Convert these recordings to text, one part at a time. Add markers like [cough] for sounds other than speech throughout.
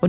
och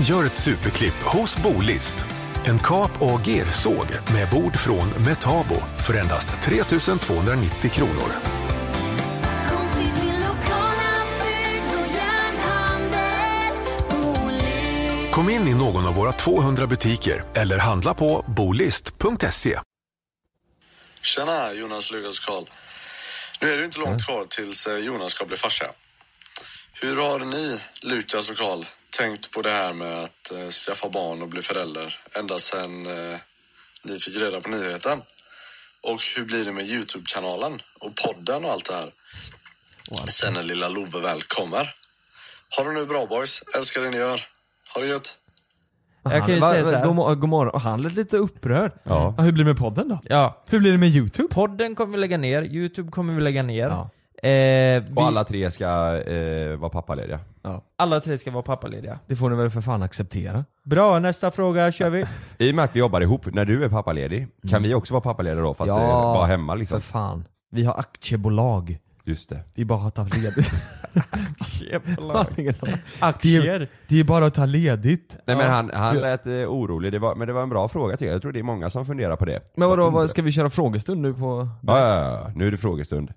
Gör ett superklipp hos Bolist. En kap och gersåg med bord från Metabo för endast 3 290 kronor. Kom till lokala bygg och järnhandel, Olin. Kom in i någon av våra 200 butiker eller handla på bolist.se. Tjena Jonas, Lukas, Karl. Nu är det ju inte långt kvar tills eh, Jonas ska bli farsa. Hur har ni, Lukas och Karl, tänkt på det här med att eh, skaffa barn och bli förälder ända sedan eh, ni fick reda på nyheten? Och hur blir det med Youtube-kanalen och podden och allt det här? Sen när lilla Love väl kommer. Ha det nu bra boys, älskar det ni gör. Ha det gött! Jag kan ju säga så här. God, mo- god morgon. Och han lät lite upprörd. Ja. Hur blir det med podden då? Ja. Hur blir det med YouTube? Podden kommer vi lägga ner, Youtube kommer vi lägga ner. Ja. Eh, vi, Och alla tre ska eh, vara pappalediga. alla tre ska vara pappalediga. Det får ni väl för fan acceptera. Bra, nästa fråga kör vi. [laughs] I och med att vi jobbar ihop, när du är pappaledig, kan vi också vara pappalediga då fast Mm. Ja. eh, bara hemma För liksom? fan. Vi har aktiebolag. Just det. Det är bara att ta ledigt. [laughs] det, Aktier. är, det är bara att ta ledigt. Nej men han, han lät eh, orolig, det var, men det var en bra fråga tycker jag. Jag tror det är många som funderar på det. Men vadå, vad, ska vi köra frågestund nu på... Ja, ja, ja, ja. nu är det [laughs] frågestund.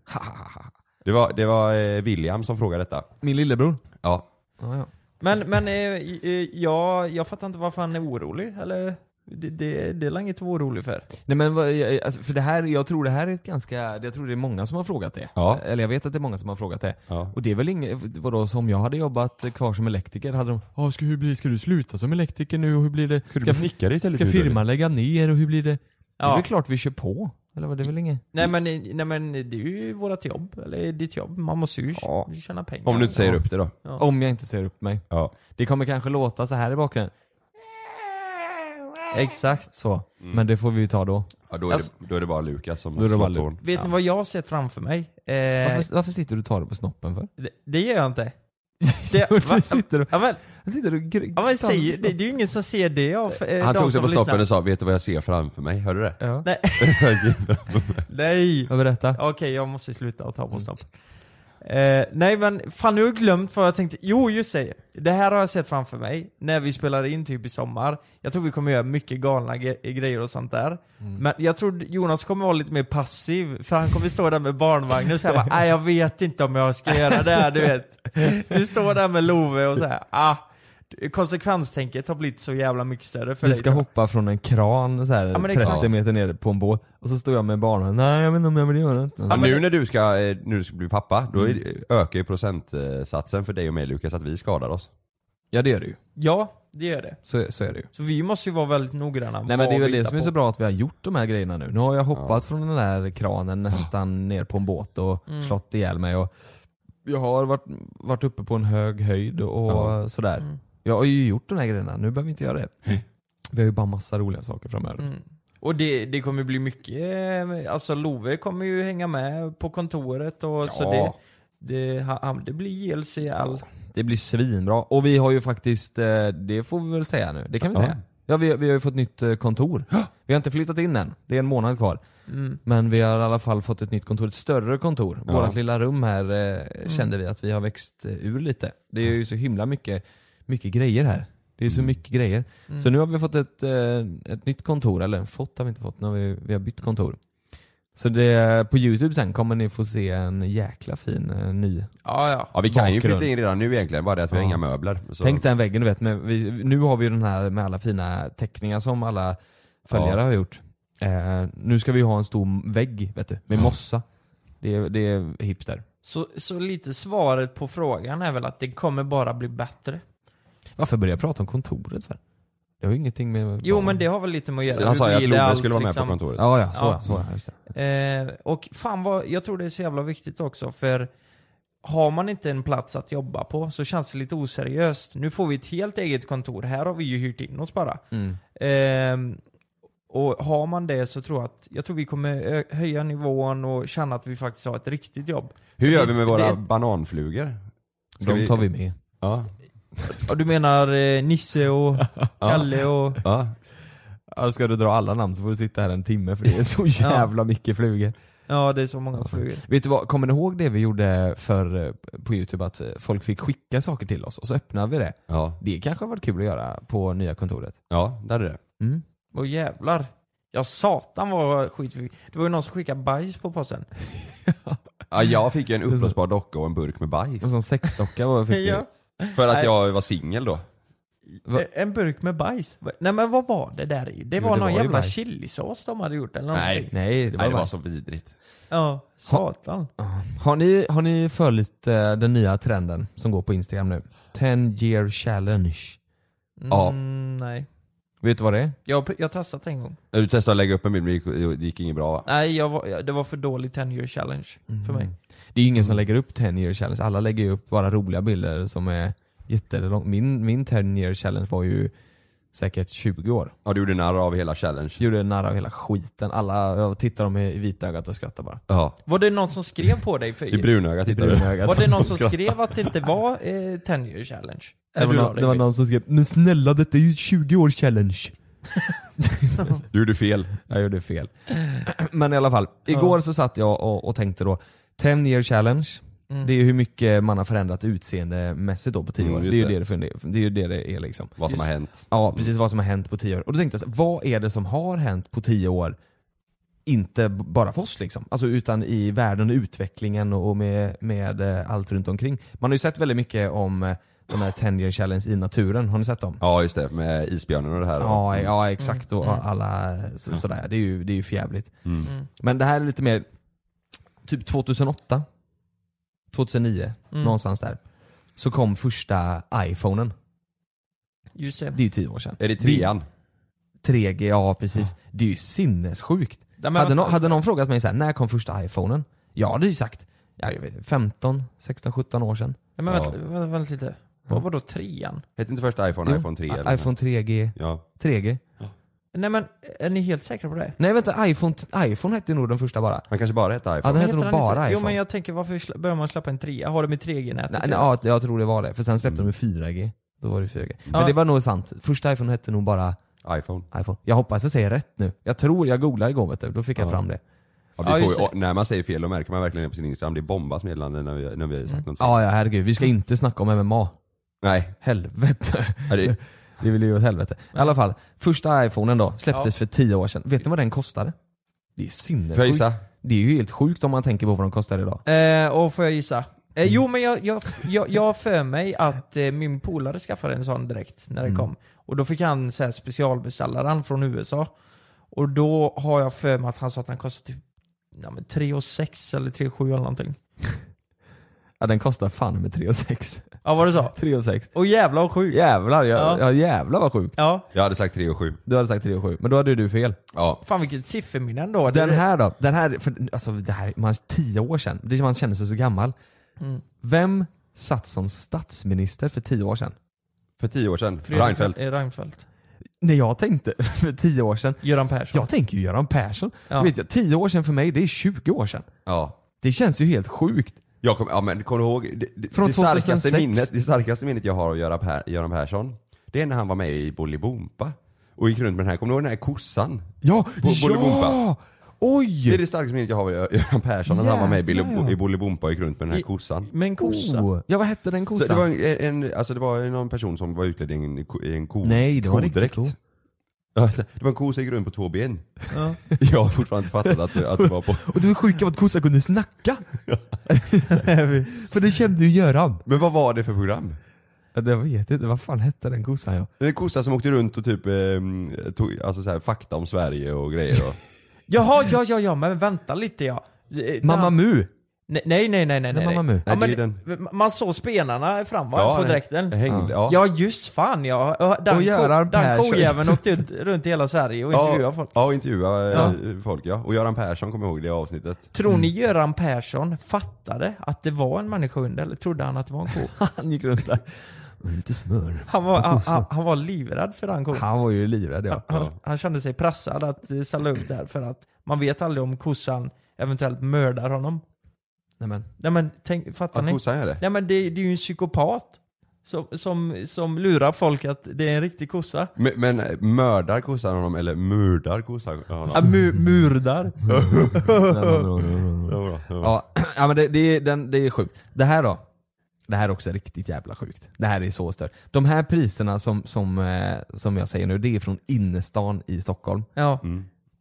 Det var, det var eh, William som frågade detta. Min lillebror? Ja. Ja, ja. Men, men eh, eh, jag, jag fattar inte varför han är orolig. Eller? Det, det, det är väl inget att vara orolig för. Nej men vad- jag- alltså, för det här, jag tror det här är ett ganska, jag tror det är många som har frågat det. Ja. Eller jag vet att det är många som har frågat det. Ja. Och det är väl inget, vadå, som jag hade jobbat kvar som elektriker hade de, "Ja, ska, hur blir, ska du sluta som elektriker nu och hur blir det? Ska, du bli snickare istället, Ska Gudrun? firman lägga ner och hur blir det? Det är Ja. väl klart vi kör på. Eller vad, det är väl inget? Nej men, nej men det är ju vårt jobb, eller ditt jobb. Man måste ju Ja. tjäna pengar. Om du inte säger upp det då. Ja. Om jag inte säger upp mig. Ja. Det kommer kanske låta så här i bakgrunden. Exakt så. Men det får vi ju ta då. Mm. Ja, då, är Alltså- det, då är det bara Lukas som Då är det bara slår Lu- tårn. Vet ni vad jag har sett framför mig? Eh, Varför, varför sitter du och tar det på snoppen för? det, det gör [laughs] jag inte. du sitter och, Ja men, du sitter och gr- ja, men säg, det, det är ju ingen som ser det av eh, Han de tog sig som på snoppen lyssnar. och sa, vet du vad jag ser framför mig? Hörde du det? [laughs] Ja. Nej. Nej! Ja, berätta. Okej, jag måste sluta att ta på snopp. Eh, nej men, fan nu har jag glömt vad jag tänkte. Jo, just det. Det här har jag sett framför mig, när vi spelade in typ i sommar. Jag tror vi kommer göra mycket galna ge- grejer och sånt där. Men jag tror Jonas kommer vara lite mer passiv, för han kommer stå där med barnvagnen och säga bara, "Nej, jag vet inte om jag ska göra det här, du vet. Du står där med Love och säger ah. Konsekvenstänket har blivit så jävla mycket större för Vi dig. ska tror jag. hoppa från en kran så här, men 30 exakt. meter ner på en båt och så står jag med barnen nej jag vet inte om jag vill göra det. Ja, nu när du ska, eh, nu du ska bli pappa, då är- eh, ökar ju procentsatsen för dig och mig Lukas att vi skadar oss. Ja det gör du ju. Ja, det gör det. Så, så är det ju. Så vi måste ju vara väldigt noggranna. Nej men det är väl det som är på. så bra att vi har gjort de här grejerna nu. Nu har jag hoppat från den där kranen nästan ner på en båt och Mm. slått ihjäl mig och jag har varit, varit uppe på en hög höjd och Ja. sådär. Mm. Jag har ju gjort de här grejerna, nu behöver vi inte göra det. Vi har ju bara massa roliga saker framöver. Mm. Och det, det kommer bli mycket, eh, alltså Love kommer ju hänga med på kontoret och så det, det, ha- ha- det blir JLC all. Det blir svinbra. Och vi har ju faktiskt, eh, det får vi väl säga nu, det kan vi Ja. säga. Ja, vi, vi har ju fått nytt eh, kontor. Vi har inte flyttat in än, det är en månad kvar. Mm. Men vi har i alla fall fått ett nytt kontor, ett större kontor. Ja. Vårat lilla rum här Mm. eh, kände vi att vi har växt eh, ur lite. Det är ju så himla mycket, mycket grejer här. Det är Mm. så mycket grejer. Så nu har vi fått ett, eh, ett nytt kontor, eller fått har vi inte fått, nu har vi, vi har bytt kontor. Så det, på youtube sen kommer ni få se en jäkla fin eh, ny Ja, ja. Ja vi kan ju bakgrund. flytta in redan nu egentligen, bara det att vi har Ja. inga möbler. Så. Tänk den väggen du vet, med, vi, nu har vi ju den här med alla fina teckningar som alla följare Ja. har gjort. Eh, nu ska vi ju ha en stor vägg vet du, med Ja. mossa. Det, är- det är hipster. Så, så lite svaret på frågan är väl att det kommer bara bli bättre? Varför börjar jag prata om kontoret för? Det har ju ingenting med... Jo men det har väl lite med att göra. Han Hur sa ju att blir det Lobe allt, skulle vara med liksom? på kontoret. Ja ja, så Ja. ja. Så, ja just det. Eh, och fan vad, jag tror det är så jävla viktigt också för har man inte en plats att jobba på så känns det lite oseriöst. Nu får vi ett helt eget kontor, här har vi ju hyrt in oss bara. Mm. Ehm, och har man det så tror jag att, jag tror vi kommer ö- höja nivån och känna att vi faktiskt har ett riktigt jobb. Hur gör Det- vi med våra det- bananflugor? Ska De tar vi med. Ja. Ja, du menar eh, [laughs] Nisse och Kalle och... ja. Ja, ska du dra alla namn så får du sitta här en timme för det är [laughs] så jävla mycket flugor. Ja, det är så många flugor. Vet du vad, kommer ni ihåg det vi gjorde för, eh, på youtube att eh, folk fick skicka saker till oss och så öppnade vi det? Ja. Det kanske har varit kul att göra på nya kontoret? ja, där är det. Mm. Åh jävlar. Ja satan vad skit vi... Det var ju någon som skickade bajs [laughs] på posten. Ja, jag fick ju en uppblåsbar docka och en burk med bajs. En sån sexdocka var [laughs] fick Ja. du. För att Nej. jag var singel då. Va? Eh, En burk med bajs. Va- Nej men vad var det där i? Det var det någon var ju jävla bajs. chilisås de hade gjort eller Nej. någonting. Nej, det var, Nej, det var bara- så vidrigt. Ja, satan. Har, ni, har ni följt eh, den nya trenden som går på Instagram nu? 10 year challenge. Ja. Mm, nej. Vet du vad det är? Jag, jag har testat en gång. Du testade att lägga upp en bild men det gick- det gick inget bra va? Nej, jag var, jag- det var för dålig 10 year challenge för mig. Mm. Mm. Det är ju ingen som lägger upp 10 year challenge, alla lägger ju upp bara roliga bilder som är jättelång. Min, min 10 year challenge var ju säkert 20 år. Ja du gjorde narr av hela challenge. Gjorde nära hela skiten, alla, jag tittar dem i i vitögat och skrattar bara. Ja. Var det någon som skrev på dig? För, I brunögat tittar du. Brunögat. var det någon som skrev att det inte var eh, 10 year challenge? Det var, Du la någon, dig det var vid. någon som skrev 'Men snälla detta är ju 20 år challenge' Du gjorde fel. Jag gjorde fel. Men i alla fall, igår så satt jag och, och tänkte då 10 year challenge, det är ju hur mycket man har förändrat utseendemässigt då på 10 Mm, år. Det är, just ju det. det. Det, funder- det är ju det det är liksom. Vad som har hänt. Ja, precis vad som har hänt på 10 år. Och då tänkte jag, så här, vad är det som har hänt på 10 år? Inte b- bara för oss liksom, alltså, utan i världen och utvecklingen och och med, med eh, allt runt omkring. Man har ju sett väldigt mycket om eh, de här 10 year challenge i naturen, har ni sett dem? Ja just det, med isbjörnen och det här. Mm. Ja, ja exakt. Och Mm. alla så, sådär. Det är ju, det är ju förjävligt. Mm. Men det här är lite mer typ 2008, 2009, någonstans där. Så kom första iPhonen. Just det. Det är ju tio år sedan. Är det trean? 3G, ja precis. Det är ju sinnessjukt. Ja, men hade, vad- någon, hade någon frågat mig så här, när kom första iPhonen? Jag hade ju sagt ja, jag vet, 15, 16, 17 år sedan. Ja, men Ja. vänta, vänta, vänta lite. Vad var då trean? Hette inte första iPhone Jo, iPhone 3? i- Eller? iPhone 3G, Ja. 3G. Nej men, är ni helt säkra på det? Nej vänta, iPhone, iPhone hette nog den bara. Han kanske bara hette Ja, iPhone. den hette Heter nog han bara inte- iPhone. Jo men jag tänker varför slä- börjar man släppa en trea? Har det med 3G-nätet Nej, att nej, göra? ja, jag tror det var det. För sen Mm. släppte de ju 4G. Då var det 4G. Men Ja. det var nog sant. Första iPhone hette nog bara iPhone. iPhone. Jag hoppas jag säger rätt nu. Jag tror, jag googlade igår vet du. Då fick jag fram det. Ja, Ja, vi får just ju, och när man säger fel då märker man verkligen det på sin Instagram. Det bombas meddelanden när vi, när vi har sagt något fel. Ja, ja herregud. Vi ska inte snacka om MMA. Nej. Helvete. Ja, Mm. det- Det vill ju åt helvete. I alla fall, första iPhonen då släpptes för 10 år sedan. Vet ni vad den kostade? Det Får är jag sinnessjukt. gissa? Det är ju helt sjukt om man tänker på vad de kostar idag. Mm. Eh, och får jag gissa? Eh, Jo men jag, jag, jag, jag har för mig att eh, min polare skaffade en sån direkt när det Mm. kom. Och då fick han så här, specialbeställa den från USA. Och då har jag för mig att han sa att den kostade typ ja, men 3 och 6 eller 3 och 7 eller någonting. [laughs] Ja, den kostar fan med 3 och 6. Ja var det så? 3 och 6. Och jävla vad sjukt. Jävlar, jag, Ja. ja. jävlar vad sjukt. Ja. Jag hade sagt 3 och 7. Du hade sagt 3 och 7, men då hade ju du fel. Ja. Fan vilket sifferminne ändå. Det- Den här då? Den här, för, alltså det här, man, tio år sedan, det, man känner sig så gammal. Mm. Vem satt som statsminister för tio år sedan? För 10 år sedan. Fredrik- Reinfeldt. eh, Reinfeldt. När jag tänkte [laughs] för tio år sedan, Göran Persson. jag tänker ju Göran Persson. Ja. Vet jag, tio år sedan för mig, det är 20 år sedan. Ja. Det känns ju helt sjukt. Jag kom, ja men kommer du ihåg? Det, det, Från det, starkaste 2006. minnet, det starkaste minnet jag har av Göran, per, Göran Persson, det är när han var med i Bolibompa. Och gick runt med den här, kommer du ihåg den här kossan? Ja! Bo- Bolibompa. ja! Det är Oj! det starkaste minnet jag har av Gö- Göran Persson, när han var med i Jävlar, Bili- ja. i Bolibompa och gick runt med den här I- kossan. Med en kossa. Oh. Ja vad hette den Så det kossan? var en, en, alltså det var någon person som var utklädd i en, ko- i en ko, Nej, det var en riktig kodräkt. ko. Ja, [laughs] Det var en ko som gick runt på två ben. Ja. [laughs] Jag har fortfarande inte fattat att du, att du var på... Och du var sjuk av att kossan kunde snacka! [laughs] För det kände ju Göran. Men vad var det för program? Ja, Jag vet inte, vad fan hette den kossan ja? En kossa som åkte runt och typ ehm, tog alltså så här, fakta om Sverige och grejer. Och, Jaha, ja, ja, ja, men vänta lite ja. Eh, [laughs] Mamma den- Mu! Nej, nej, nej, nej, nej. Nej, Mamma Mu. Ja, Nej, men, det är Man såg spenarna fram va? Ja, på dräkten. det hängde, ja. Ja just fan ja. Den, Och Göran ko, den Persson. kojäveln åkte ut runt i hela Sverige och intervjuade ja, folk. Ja, och intervjua eh, folk ja. Och Göran Persson kommer ihåg det avsnittet. Tror ni Göran Persson fattade att det var en människohund eller trodde [laughs] han att det var en ko? Han gick runt där. Lite smör. Han var, han, han, han var livrädd för den kon. Han var ju livrädd ja. Han, han kände sig pressad att eh, ställa upp där för att man vet aldrig om kossan eventuellt mördar honom. Nej, men. Nej men tänk, fattar Att ni? kossan gör det? Nej men det, det är ju en psykopat. Som, som, som lurar folk att det är en riktig kossa. Men, men eh, mördar kossan honom eller mördar kossan honom? Ja, mu, [laughs] murdar. Ja, ja. [laughs] Ja, ja men det, det, är- den, det är sjukt. Det här då? Det här är också riktigt jävla sjukt. Det här är så stört. De här priserna som, som, eh, som jag säger nu, det är från innerstan i Stockholm. Ja.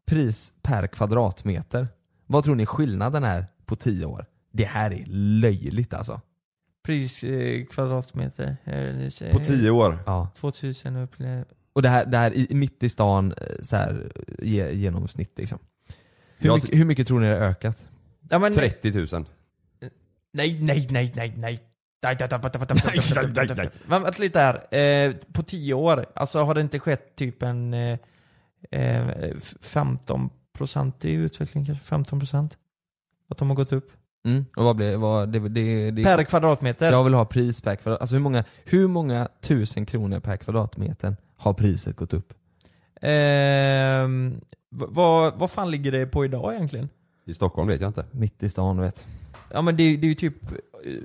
Pris per kvadratmeter. Vad tror ni skillnaden är på 10 år? Det här är löjligt alltså. Pris eh, kvadratmeter. Eh, nu säger- På tio år? Ja. 2000 upp. nej. Och det här, det här i, mitt i stan, eh, så här, ge, genomsnitt liksom. Hur Jag- mycket, hur mycket tror ni det har ökat? Ja, men, 30 000. Nej, nej, nej, nej, nej. Nej, nej, nej, nej, nej. Men vänta lite här. Eh, på 10 år, alltså har det inte skett typ en eh, eh, f- 15% i utveckling kanske? 15%? Att de har gått upp? Mm. Och vad blir vad, det, det, det? Per kvadratmeter? Jag vill ha pris per kvadrat. Alltså hur många, hur många tusen kronor per kvadratmeter har priset gått upp? Ehm, v- vad, vad fan ligger det på idag egentligen? I Stockholm vet jag inte. Mitt i stan vet. Ja men det, det är ju typ, eh,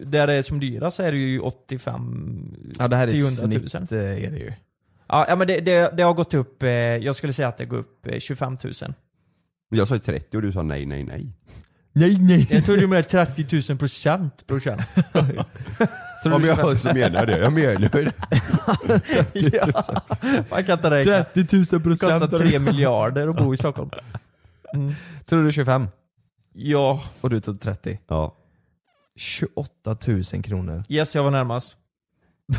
där det är som dyrast så är det ju 85 Ja det här är Till ett 100 000. snitt eh, är det ju. Ja, ja men det, det, det har gått upp, eh, jag skulle säga att det går upp eh, 25 000. Jag sa ju 30 och du sa nej, nej, nej. Nej nej! Jag tror du menar 30 000 procent [laughs] brorsan. Ja, men jag så menar jag det. Jag menar ju det. [laughs] Ja. Man kan inte räkna. 30 000 Kostar procent! 3 miljarder att bo i Stockholm. Mm. Tror du 25? Ja, Och du tog 30? Ja. 28 000 kronor. yes jag var närmast.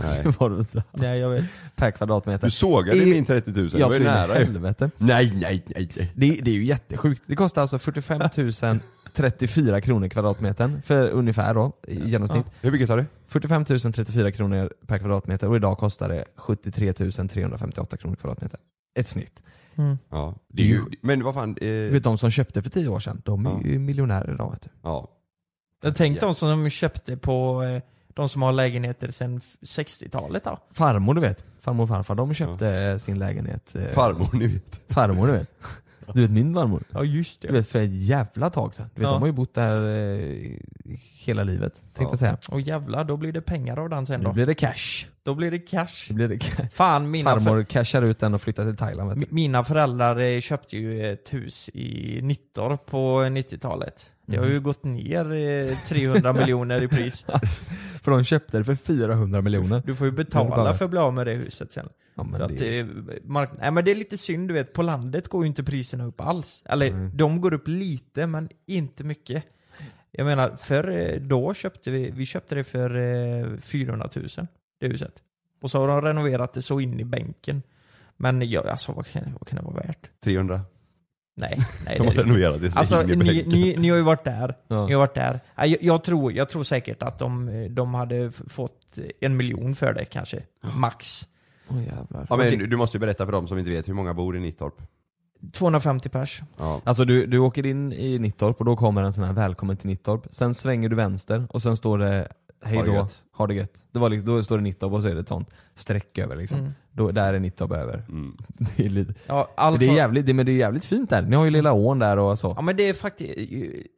Nej. Det [laughs] var det inte. Nej jag vet. Per Du kvadratmeter. sågade I- min 30 000. Jag var ju så in i nära ju. helvete. Nej, nej, nej, nej. Det, det är ju jättesjukt. Det kostar alltså 45 034 kronor kvadratmetern för ungefär då, i genomsnitt. Hur mycket sa du? 45 034 kronor per kvadratmeter och idag kostar det 73 358 kronor kvadratmeter. Ett snitt. Ja. Det är ju, men vad fan. Du Eh, vet de som köpte för 10 år sedan, de är Ja. ju miljonärer idag vet du. ja. Jag tänkte de som de köpte på, eh, de som har lägenheter sedan f- 60-talet då. Farmor du vet, farmor och farfar, de köpte eh, sin lägenhet. eh, Farmor ni vet. farmor du vet. Du vet min farmor. Ja just Du vet för ett jävla tag sedan. Du vet Ja. de har ju bott där eh, hela livet, tänkte jag säga. Och jävlar, då blir det pengar av den sen Nu då. blir det cash. Då blir det cash. Nu blir det ca- Fan mina, för, Farmor cashar ut den och flyttar till Thailand vet mi- du. mina föräldrar eh, köpte ju ett hus i Nittorp på 90-talet. Det har ju gått ner eh, 300 miljoner i pris. För de köpte det för 400 miljoner. Du får ju Men bara- betala för att bli av med det huset sen. Ja, men För att, det- eh, mark- Nej men det är lite synd du vet, på landet går ju inte priserna upp alls. Eller de går upp lite men inte mycket. Jag menar, förr eh, då köpte vi, vi köpte det för eh, 400 000, det huset. Och så har de renoverat det så in i bänken. Men jag, alltså vad kan, vad kan det vara värt? 300. Nej, nej det De är har det inte. renoverat det. så Alltså ingen ni, bänk. ni, ni har ju varit där. Ja. Ni har varit där. Ja, Jag, jag, tror, jag tror säkert att de, eh, de hade f- fått en miljon för det kanske. Max. Åh, jävlar. Ja, men du måste ju berätta för dem som inte vet hur många bor i Nittorp. 250 pers. Ja. Alltså du, du åker in i Nittorp och då kommer en sån här 'Välkommen till Nittorp' Sen svänger du vänster och sen står det 'Hej Ha det då, gött." ha det gött' det var liksom, Då står det Nittorp och så är det ett sånt streck över liksom. Mm. Då, där är Nittorp över. [laughs] Det, är lite, Ja, allt Alltså- det, är har- jävligt, det, men det är jävligt fint där. Ni har ju Lilla ån där och så. Ja men det är faktiskt,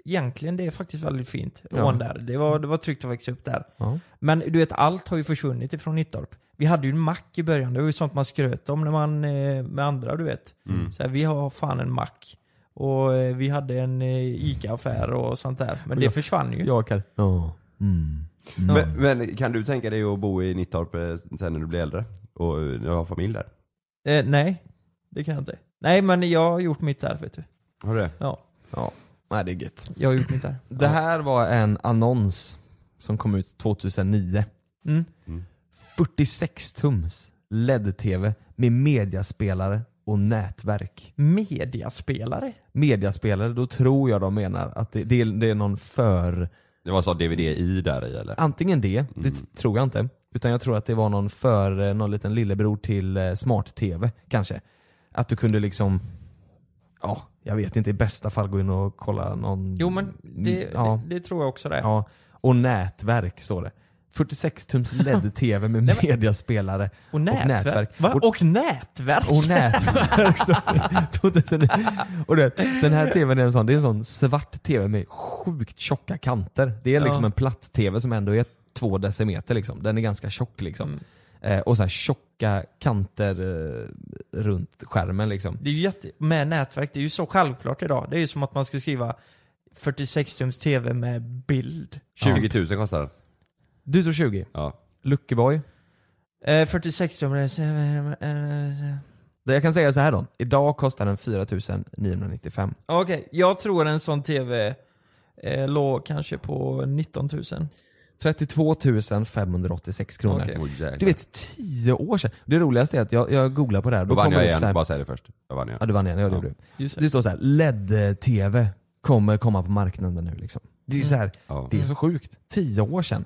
egentligen det är faktiskt väldigt fint. Ja. Ån där. Det var, det var tryggt att växa upp där. Ja. Men du vet, allt har ju försvunnit ifrån Nittorp. Vi hade ju en mack i början, det var ju sånt man skröt om när man, eh, med andra du vet. Mm. Så här, vi har fan en mack. Och eh, vi hade en eh, ICA-affär och sånt där. Men det försvann ju. Jag kan... Ja. Mm. Men, men kan du tänka dig att bo i Nittorp eh, sen när du blir äldre? Och eh, när du har familj där? Eh, nej. det kan jag inte. Nej men jag har gjort mitt där vet du. Har du det? Ja. Ja. Nej det är gött. Jag har gjort mitt där. Det här var en annons som kom ut 2009. Mm. 46 tums E LED-TV med mediaspelare och nätverk. Mediaspelare? Mediaspelare, då tror jag de menar att det, det, är, det är någon för... Det var så DVD-i där i eller? Mm. Antingen det, det t- tror jag inte. Utan jag tror att det var någon för, eh, någon liten lillebror till eh, smart-tv kanske. Att du kunde liksom, ja, jag vet inte, i bästa fall gå in och kolla någon... Jo men det, Mm, ja. det, det tror jag också det. Ja, och nätverk står det. [laughs] 46 tums LED-TV med Nej, men- mediaspelare Och nätverk? Va? Och, Och, nätverk? och nätverk står det. 2009. Och du vet, den här TVn är en sån, det är en sån svart TV med sjukt tjocka kanter. Det är Ja. liksom en platt-TV som ändå är två decimeter liksom. Den är ganska tjock liksom. Mm. Eh, och så här tjocka kanter eh, runt skärmen liksom. Det är ju jätte, med nätverk, det är ju så självklart idag. Det är ju som att man ska skriva 46 tums TV med bild. 20 000 kostar den. Du tror 20? Ja. Luckeboy? Eh, 46 tum, det är så- eh, eh, Det Jag kan säga så här då. Idag kostar den 4995. Okej, jag tror en sån TV eh, låg kanske på 19 000. 32 586 kronor. Okej. Åh, jäklar. Du vet, 10 år sedan. Det roligaste är att jag, jag googlar på det här. Då vann kommer jag det upp igen, så här- bara säg det först. Då vann jag. Ja, du vann igen. Ja, det gjorde du. Just det. Det står så här, LED-TV kommer komma på marknaden nu liksom. Det är så här, Ja. det är så sjukt. 10 år sedan.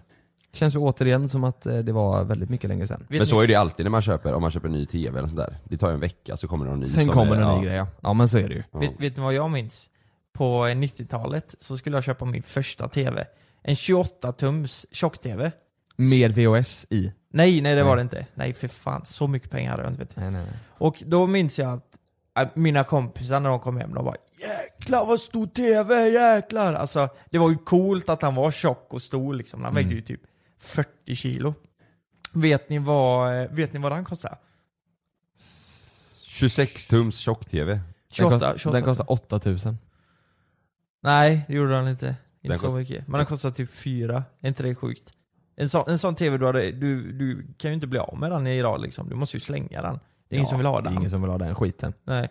Känns ju återigen som att eh, det var väldigt mycket längre sedan. Vet Men så ni- är det ju alltid när man köper, om man köper en ny TV eller sånt där. Det tar ju en vecka så kommer det någon ny. Sen som kommer är- det en ja. ny grej ja. Ja men så är det ju. Vet, vet ni vad jag minns? På 90-talet så skulle jag köpa min första TV. En 28-tums tjock-TV. Med VHS i. Nej, nej det var Nej. det inte. Nej för fan, så mycket pengar hade jag inte. Vet. du. Nej, nej, nej. Och då minns jag att äh, mina kompisar när de kom hem, de bara 'Jäklar vad stor TV, jäklar' Alltså det var ju coolt att han var tjock och stor liksom. Han Mm. vägde ju typ 40 kilo. Vet ni vad, eh, vet ni vad den kostade? 26 tums tjock-TV. Den, 28, kost, 28. den kostar 8000. Nej, det gjorde han inte. Inte Den så kost- mycket. Men den kostade typ 4. Är inte det sjukt? En, så, en sån TV du hade, du, du kan ju inte bli av med den idag liksom. Du måste ju slänga den. Det är ingen som vill ha Det den. är ingen som vill ha den skiten. [clears throat] Nej.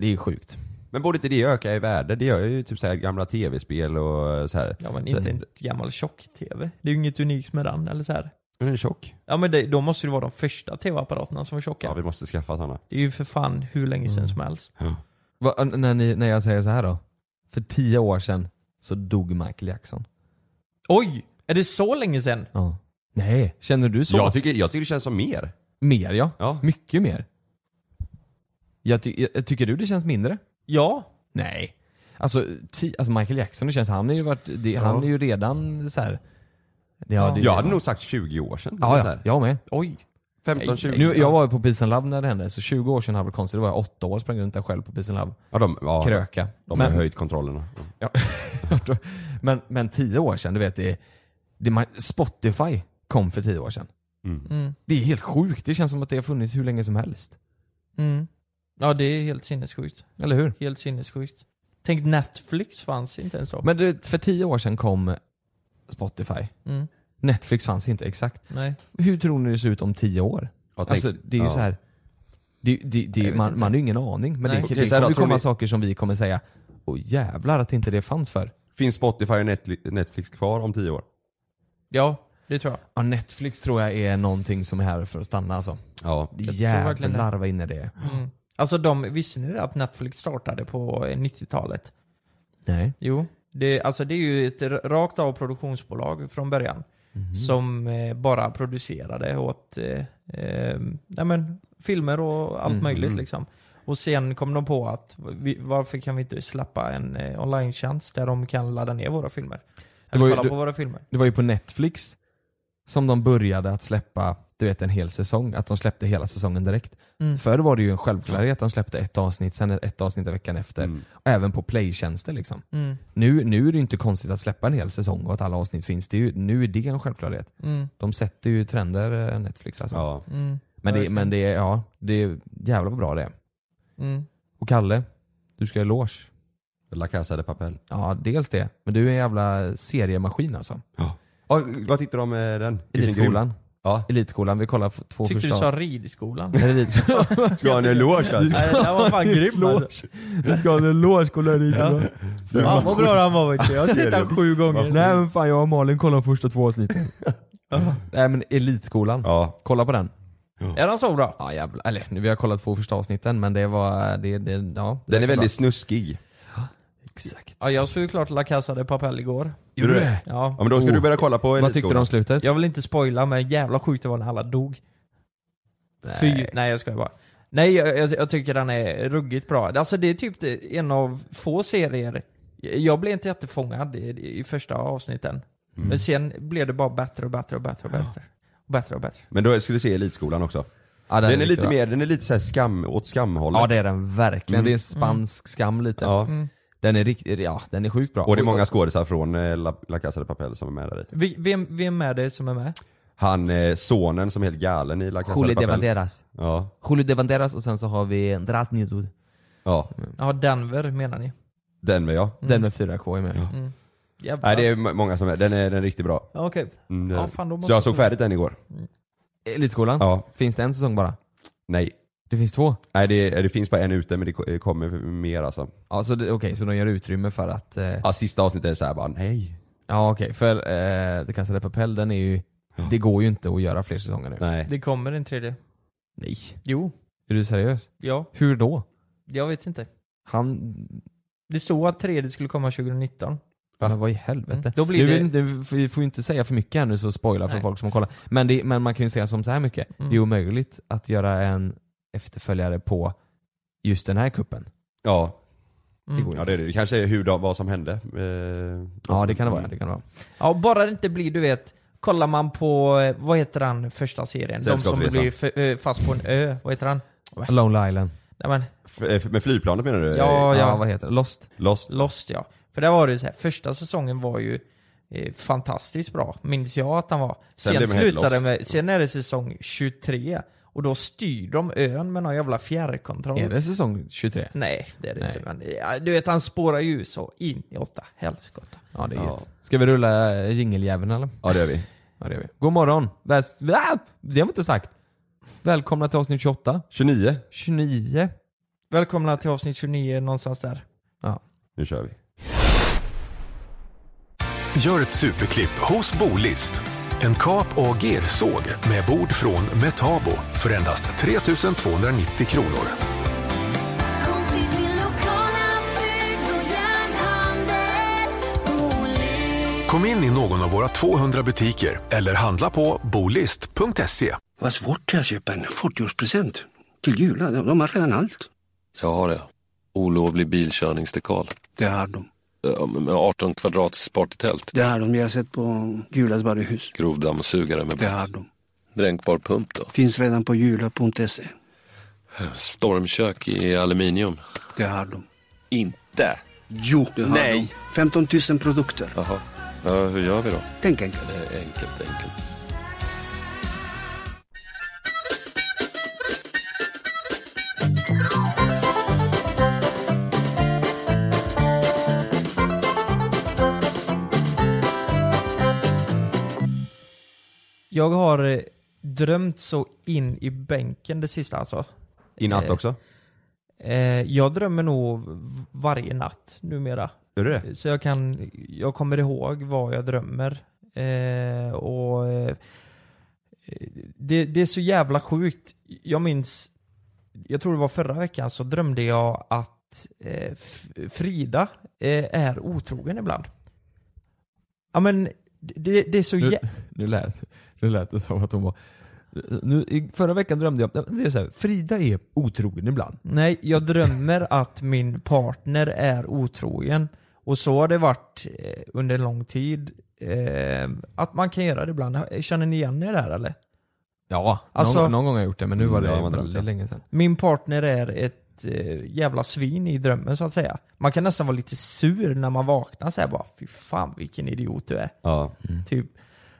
Det är ju sjukt. Men borde inte det öka i värde? Det gör ju typ så här gamla tv-spel och så här. Ja men inte en gammal tjock-TV. Det är ju inget unikt med den, eller så här. Men den är tjock. Ja men det, då måste det vara de första TV-apparaterna som var tjocka. Ja, vi måste skaffa sådana. Det är ju för fan hur länge Mm. sedan som helst. Va, n- när, ni, när jag säger så här då. För 10 år sedan så dog Michael Jackson. Oj! Är det så länge sedan? Ja. Nej, känner du så? Jag tycker, jag tycker det känns som mer. Mer ja. Ja. Mycket mer. Jag ty jag, tycker du det känns mindre? Ja. Nej. Alltså, ti alltså Michael Jackson, det känns, han, är ju varit, det, han är ju redan så här. Det, ja, det, Jag hade nog sagt 20 år sedan. ja, Så ja, här. jag med. Oj. 15, 20. Nu, jag var ju på Peace and Love när det hände, så 20 år sedan hade det konstigt. Då var jag 8 år sprang runt där själv på Peace and Love. ja, de, ja, Kröka. De har Men- höjt kontrollerna. Ja. [laughs] men, men tio år sedan, du vet, det, det, man- Spotify kom för tio år sedan. Mm. Det är helt sjukt. Det känns som att det har funnits hur länge som helst. Mm. Ja det är helt sinnessjukt. Eller hur? Helt sinnessjukt. Tänk Netflix fanns inte ens då. Men du, vet, för tio år sedan kom Spotify. Mm. Netflix fanns inte exakt. Nej. Hur tror ni det ser ut om tio år? Jag tänk- Alltså, det är ju ja. så här, det, det, Jag det, vet man, inte. man har ju ingen aning. Men det, Nej. det, Okej, det så här kommer då, ju tror komma ni- saker som vi kommer säga, åh jävlar att inte det fanns för. Finns Spotify och Netli- Netflix kvar om 10 år? Ja, det tror jag. Ja, Netflix tror jag är någonting som är här för att stanna alltså. Ja. tror verkligen det. Jävlar vad inne det är. Mm. Alltså de, visste ni det att Netflix startade på eh, 90-talet? Nej. Jo. Det, alltså det är ju ett r- rakt av produktionsbolag från början. Mhm. Som eh, bara producerade åt eh, eh, nej men, filmer och allt Mhm. möjligt liksom. Och sen kom de på att vi, varför kan vi inte släppa en eh, online-tjänst där de kan ladda ner våra filmer? Det Eller var ju- kolla du- på våra filmer. Det var ju på Netflix som de började att släppa du vet, en hel säsong. Att de släppte hela säsongen direkt. Mm. Förr var det ju en självklarhet att de släppte ett avsnitt, sen ett avsnitt i veckan efter. Och även på playtjänster liksom. Mm. Nu, nu är det ju inte konstigt att släppa en hel säsong och att alla avsnitt finns. Det är ju, nu är det en självklarhet. Mm. De sätter ju trender, eh, Netflix alltså. ja. Mm. men, det, verkligen. men det är, ja, det är jävla vad bra det är. Mm. Och Kalle, du ska ha eloge. La Casa de Papel. Ja, dels det. Men du är en jävla seriemaskin alltså. Ja, vad tyckte du om eh, den? Vilken grym- Elitskolan. Elitskolan, vi kollar f- två Tyckte du första... sa [laughs] ridskolan? [laughs] Nej, ridskolan. Ska ha en eloge alltså. Nej, den här var fan grym alltså. Du ska ha en eloge, kolla ridskolan. Fan vad bra han var vet du. Jag har sett han [laughs] sju gånger. Nej men fan jag och Malin kollade de första två avsnitten. Nej men Elitskolan, kolla på den. Är den så bra? Ja jävlar, eller nu, vi har kollat två första avsnitten men det var, det, det, ja. det Den är räcker bra. väldigt snuskig. Exakt. Ja, jag såg ju klart La Casa de Papel igår. Gjorde du det? Ja. Ja men då ska du börja kolla på Vad tyckte du om Elitskolan. slutet? Jag vill inte spoila men jävla sjukt det var när alla dog. Fy, nej jag skojar bara. Nej jag, jag, jag tycker den är ruggigt bra. Alltså det är typ det- en av få serier, jag blev inte jättefångad i, i första avsnitten. Mm. Men sen blev det bara bättre och bättre och bättre och bättre. Och bättre och bättre. Men då ska du se Elitskolan också. Ja, Den är lite bra. mer, den är lite så här skam, åt skamhållet. Ja det är den verkligen, Mm. det är spansk skam lite. Ja. Mm. Den är riktigt, ja den är sjukt bra. Och det är många skådisar från eh, La, La Casa de Papel som är med där i. Vi- Vem, vem är det som är med? Han, eh, sonen som är helt galen i La Casa Juli de de Papel. Banderas. Ja. Juli de Banderas och sen så har vi Drasnizud. Ja, Ja, Denver menar ni? den var jag. Den med 4K är med. Jävlar. Nej det är m- många som är, den är, den är riktigt bra. Ja, Okej. Mm, det är Ja, den. fan, då måste Så jag såg kolla. färdigt den igår. Elitskolan, Ja, finns det en säsong bara? nej. Det finns två? Nej det, det finns bara en ute men det ko- kommer mer alltså. Ja, så det- okej, så de gör utrymme för att... Eh, Ja, sista avsnittet är såhär bara nej. ja okej, för eh, The Casa de Papel den är ju... Det går ju inte att göra fler säsonger nu. Nej. Det kommer en tredje. Nej. Jo. Är du seriös? Ja. Hur då? Jag vet inte. Han... Det stod att tredje skulle komma 2019. Men vad i helvete? Mm. Då blir nu, det- vill inte- Vi får ju inte säga för mycket här nu så spoila för Nej. folk som kollar. Men, det, men man kan ju säga som så här mycket. Mm. Det är omöjligt att göra en efterföljare på just den här kuppen. Ja, Mm. går ja det är det. Det kanske är hur, då- vad som hände. Eh, vad Ja som- det kan det vara. Det kan det vara. Ja, bara det inte blir, du vet, kollar man på, eh, vad heter han första serien? De som Sällskapsresan. blir f- eh, fast på en ö, vad heter han? Lonely Island. Nej Eh, men, F- eh, f- med flygplanet menar du? ja, Ja, ja, vad heter det? Lost? Lost? Lost ja. För där var det ju så här, första säsongen var ju eh, fantastiskt bra, minns jag att han var. Sen Sen, blev man helt slutade lost. med, sen är det säsong 23, och då styr de ön med någon jävla fjärrkontroll. Är det säsong 23? Mm. Nej, det är det Nej. inte. Men, ja, du vet, han spårar ju så in i åtta helskotta. Ja det är gött. Ska vi rulla eh, jingeljäveln eller? Ja det gör vi. Ja det gör vi. God morgon. Väst... Ah! Det har vi inte sagt. Välkomna till avsnitt 28. 29. 29. Välkomna till avsnitt 29, någonstans där. Nu kör vi. Gör ett superklipp hos Bolist. En kap och gersåg med bord från Metabo för endast 3290 kronor. Kom till din lokala bygg och järnhandel, Olin. Kom in i någon av våra 200 butiker eller handla på bolist.se. Vad svårt det är att köpa en 40-årspresent. Till Jula, de, de har redan allt. Jag har det. Olovlig bilkörningsdekal. Det har de. Ja, Med 18 kvadrats partytält. Det har de. Jag har sett på Julas varuhus. Grovdammsugare med Det har de. dränkbar pump då. Finns redan på jula.se. Stormkök i aluminium. Det har de. Inte? Jo, det har Nej. de. 15 000 produkter. Jaha. Ja, hur gör vi då? Tänk enkelt. Eh, Enkelt, enkelt. Jag har eh, drömt så in i bänken det sista alltså. I natt Eh, också? Eh, jag drömmer nog v- varje natt numera. Gör du det? Så jag kan, jag kommer ihåg vad jag drömmer. Eh, och eh, det, det är så jävla sjukt. Jag minns, jag tror det var förra veckan, så drömde jag att eh, F- Frida eh, är otrogen ibland. Ja men, det, det är så Nu, jä- nu, lät, nu lät det som att hon var... Nu, i- förra veckan drömde jag... Det är så här, Frida är otrogen ibland. Nej, jag drömmer att min partner är otrogen. Och så har det varit eh, under en lång tid. Eh, att man kan göra det ibland. Känner ni igen er där eller? Ja, Alltså- någon, någon gång har jag gjort det men nu var det Mm, ja, man väldigt drömde. länge sedan. Min partner är ett eh, jävla svin i drömmen så att säga. Man kan nästan vara lite sur när man vaknar så här bara fy fan vilken idiot du är. Ja. Typ.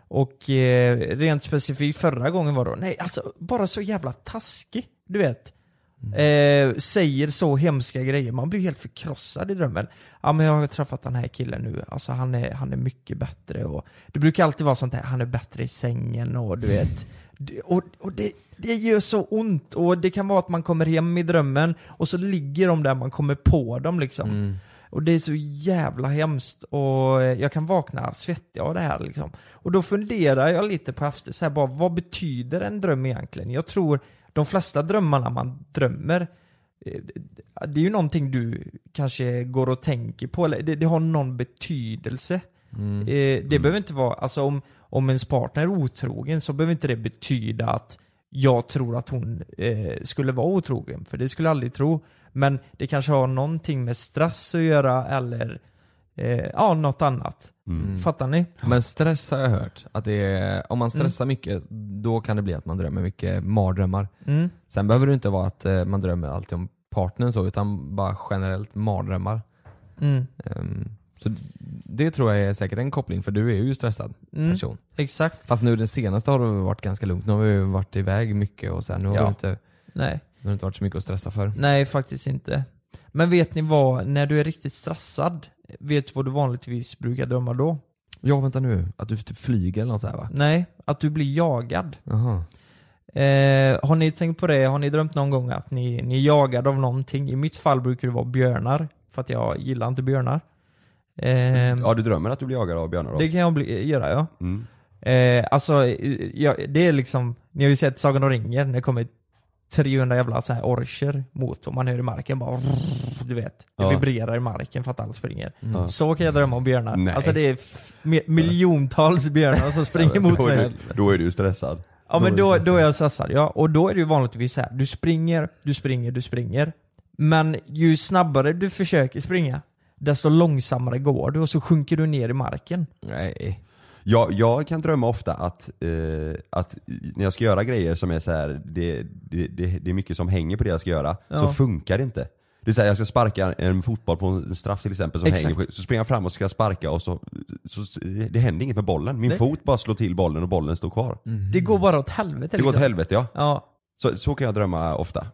Och eh, rent specifikt förra gången var då, nej alltså bara så jävla taskig. Du vet. Eh, säger så hemska grejer. Man blir helt förkrossad i drömmen. Ja men jag har träffat den här killen nu. Alltså han är, han är mycket bättre. Och, det brukar alltid vara sånt här, han är bättre i sängen och du vet. Det- Och, och det, det gör så ont. Och det kan vara att man kommer hem i drömmen och så ligger de där, man kommer på dem liksom. Och det är så jävla hemskt och eh, jag kan vakna svettig av det här liksom. Och då funderar jag lite på efter, så här bara, vad betyder en dröm egentligen? Jag tror de flesta drömmarna man drömmer, eh, det- det är ju någonting du kanske går och tänker på, eller det, det har någon betydelse. Mm. Eh, det behöver inte vara, alltså om, om ens partner är otrogen så behöver inte det betyda att jag tror att hon eh, skulle vara otrogen, för det skulle jag aldrig tro. Men det kanske har någonting med stress att göra eller eh, ja, något annat. Mm. Fattar ni? Men stress har jag hört, att det är, om man Mm. stressar mycket då kan det bli att man drömmer mycket mardrömmar. Mm. Sen behöver det inte vara att eh, man drömmer alltid om partnern så, utan bara generellt mardrömmar. Mm. Ehm, så det tror jag är säkert en koppling, för du är ju stressad Mm, person. Exakt. Fast nu den senaste har det varit ganska lugnt. Nu har vi ju varit iväg mycket och sen nu har Ja. det inte, Nej. nu har det inte varit så mycket att stressa för. Nej, faktiskt inte. Men vet ni vad, när du är riktigt stressad, vet du vad du vanligtvis brukar drömma då? Ja vänta nu, att du typ flyger eller något så här va? Nej, att du blir jagad. Jaha. Eh, har ni tänkt på det? Har ni drömt någon gång att ni, ni är jagade av någonting? I mitt fall brukar det vara björnar, för att jag gillar inte björnar. Ehm, Ja, du drömmer att du blir jagad av björnar då? Det kan jag bli, göra ja. Mm. Eh, alltså, eh, ja, det är liksom, ni har ju sett Sagan om ringen, när det kommer 300 jävla så här orcher mot och man hör i marken bara [laughs] rrrr, du vet. Det Ja. vibrerar i marken för att alla springer. Mm. Så kan jag drömma om björnar. Nej. Alltså det är f- mi- miljontals björnar som springer mot då, är mig. du, då är du stressad. Ja men är då, du stressad. då är jag stressad, ja. Och då är det ju vanligtvis så här. du springer, du springer, du springer. Men ju snabbare du försöker springa, desto långsammare går du och så sjunker du ner i marken. Nej. Jag, jag kan drömma ofta att, eh, att i- när jag ska göra grejer som är så här, det, det, det, det är mycket som hänger på det jag ska göra, så Ja. funkar det inte. Det är så här, jag ska sparka en fotboll på en straff till exempel som Exakt. hänger, på- så springer jag fram och ska sparka och så, så, det händer inget med bollen. Min Nej. fot bara slår till bollen och bollen står kvar. Det går bara åt helvete Det går åt liksom. helvete ja. Ja. Så, så kan jag drömma ofta.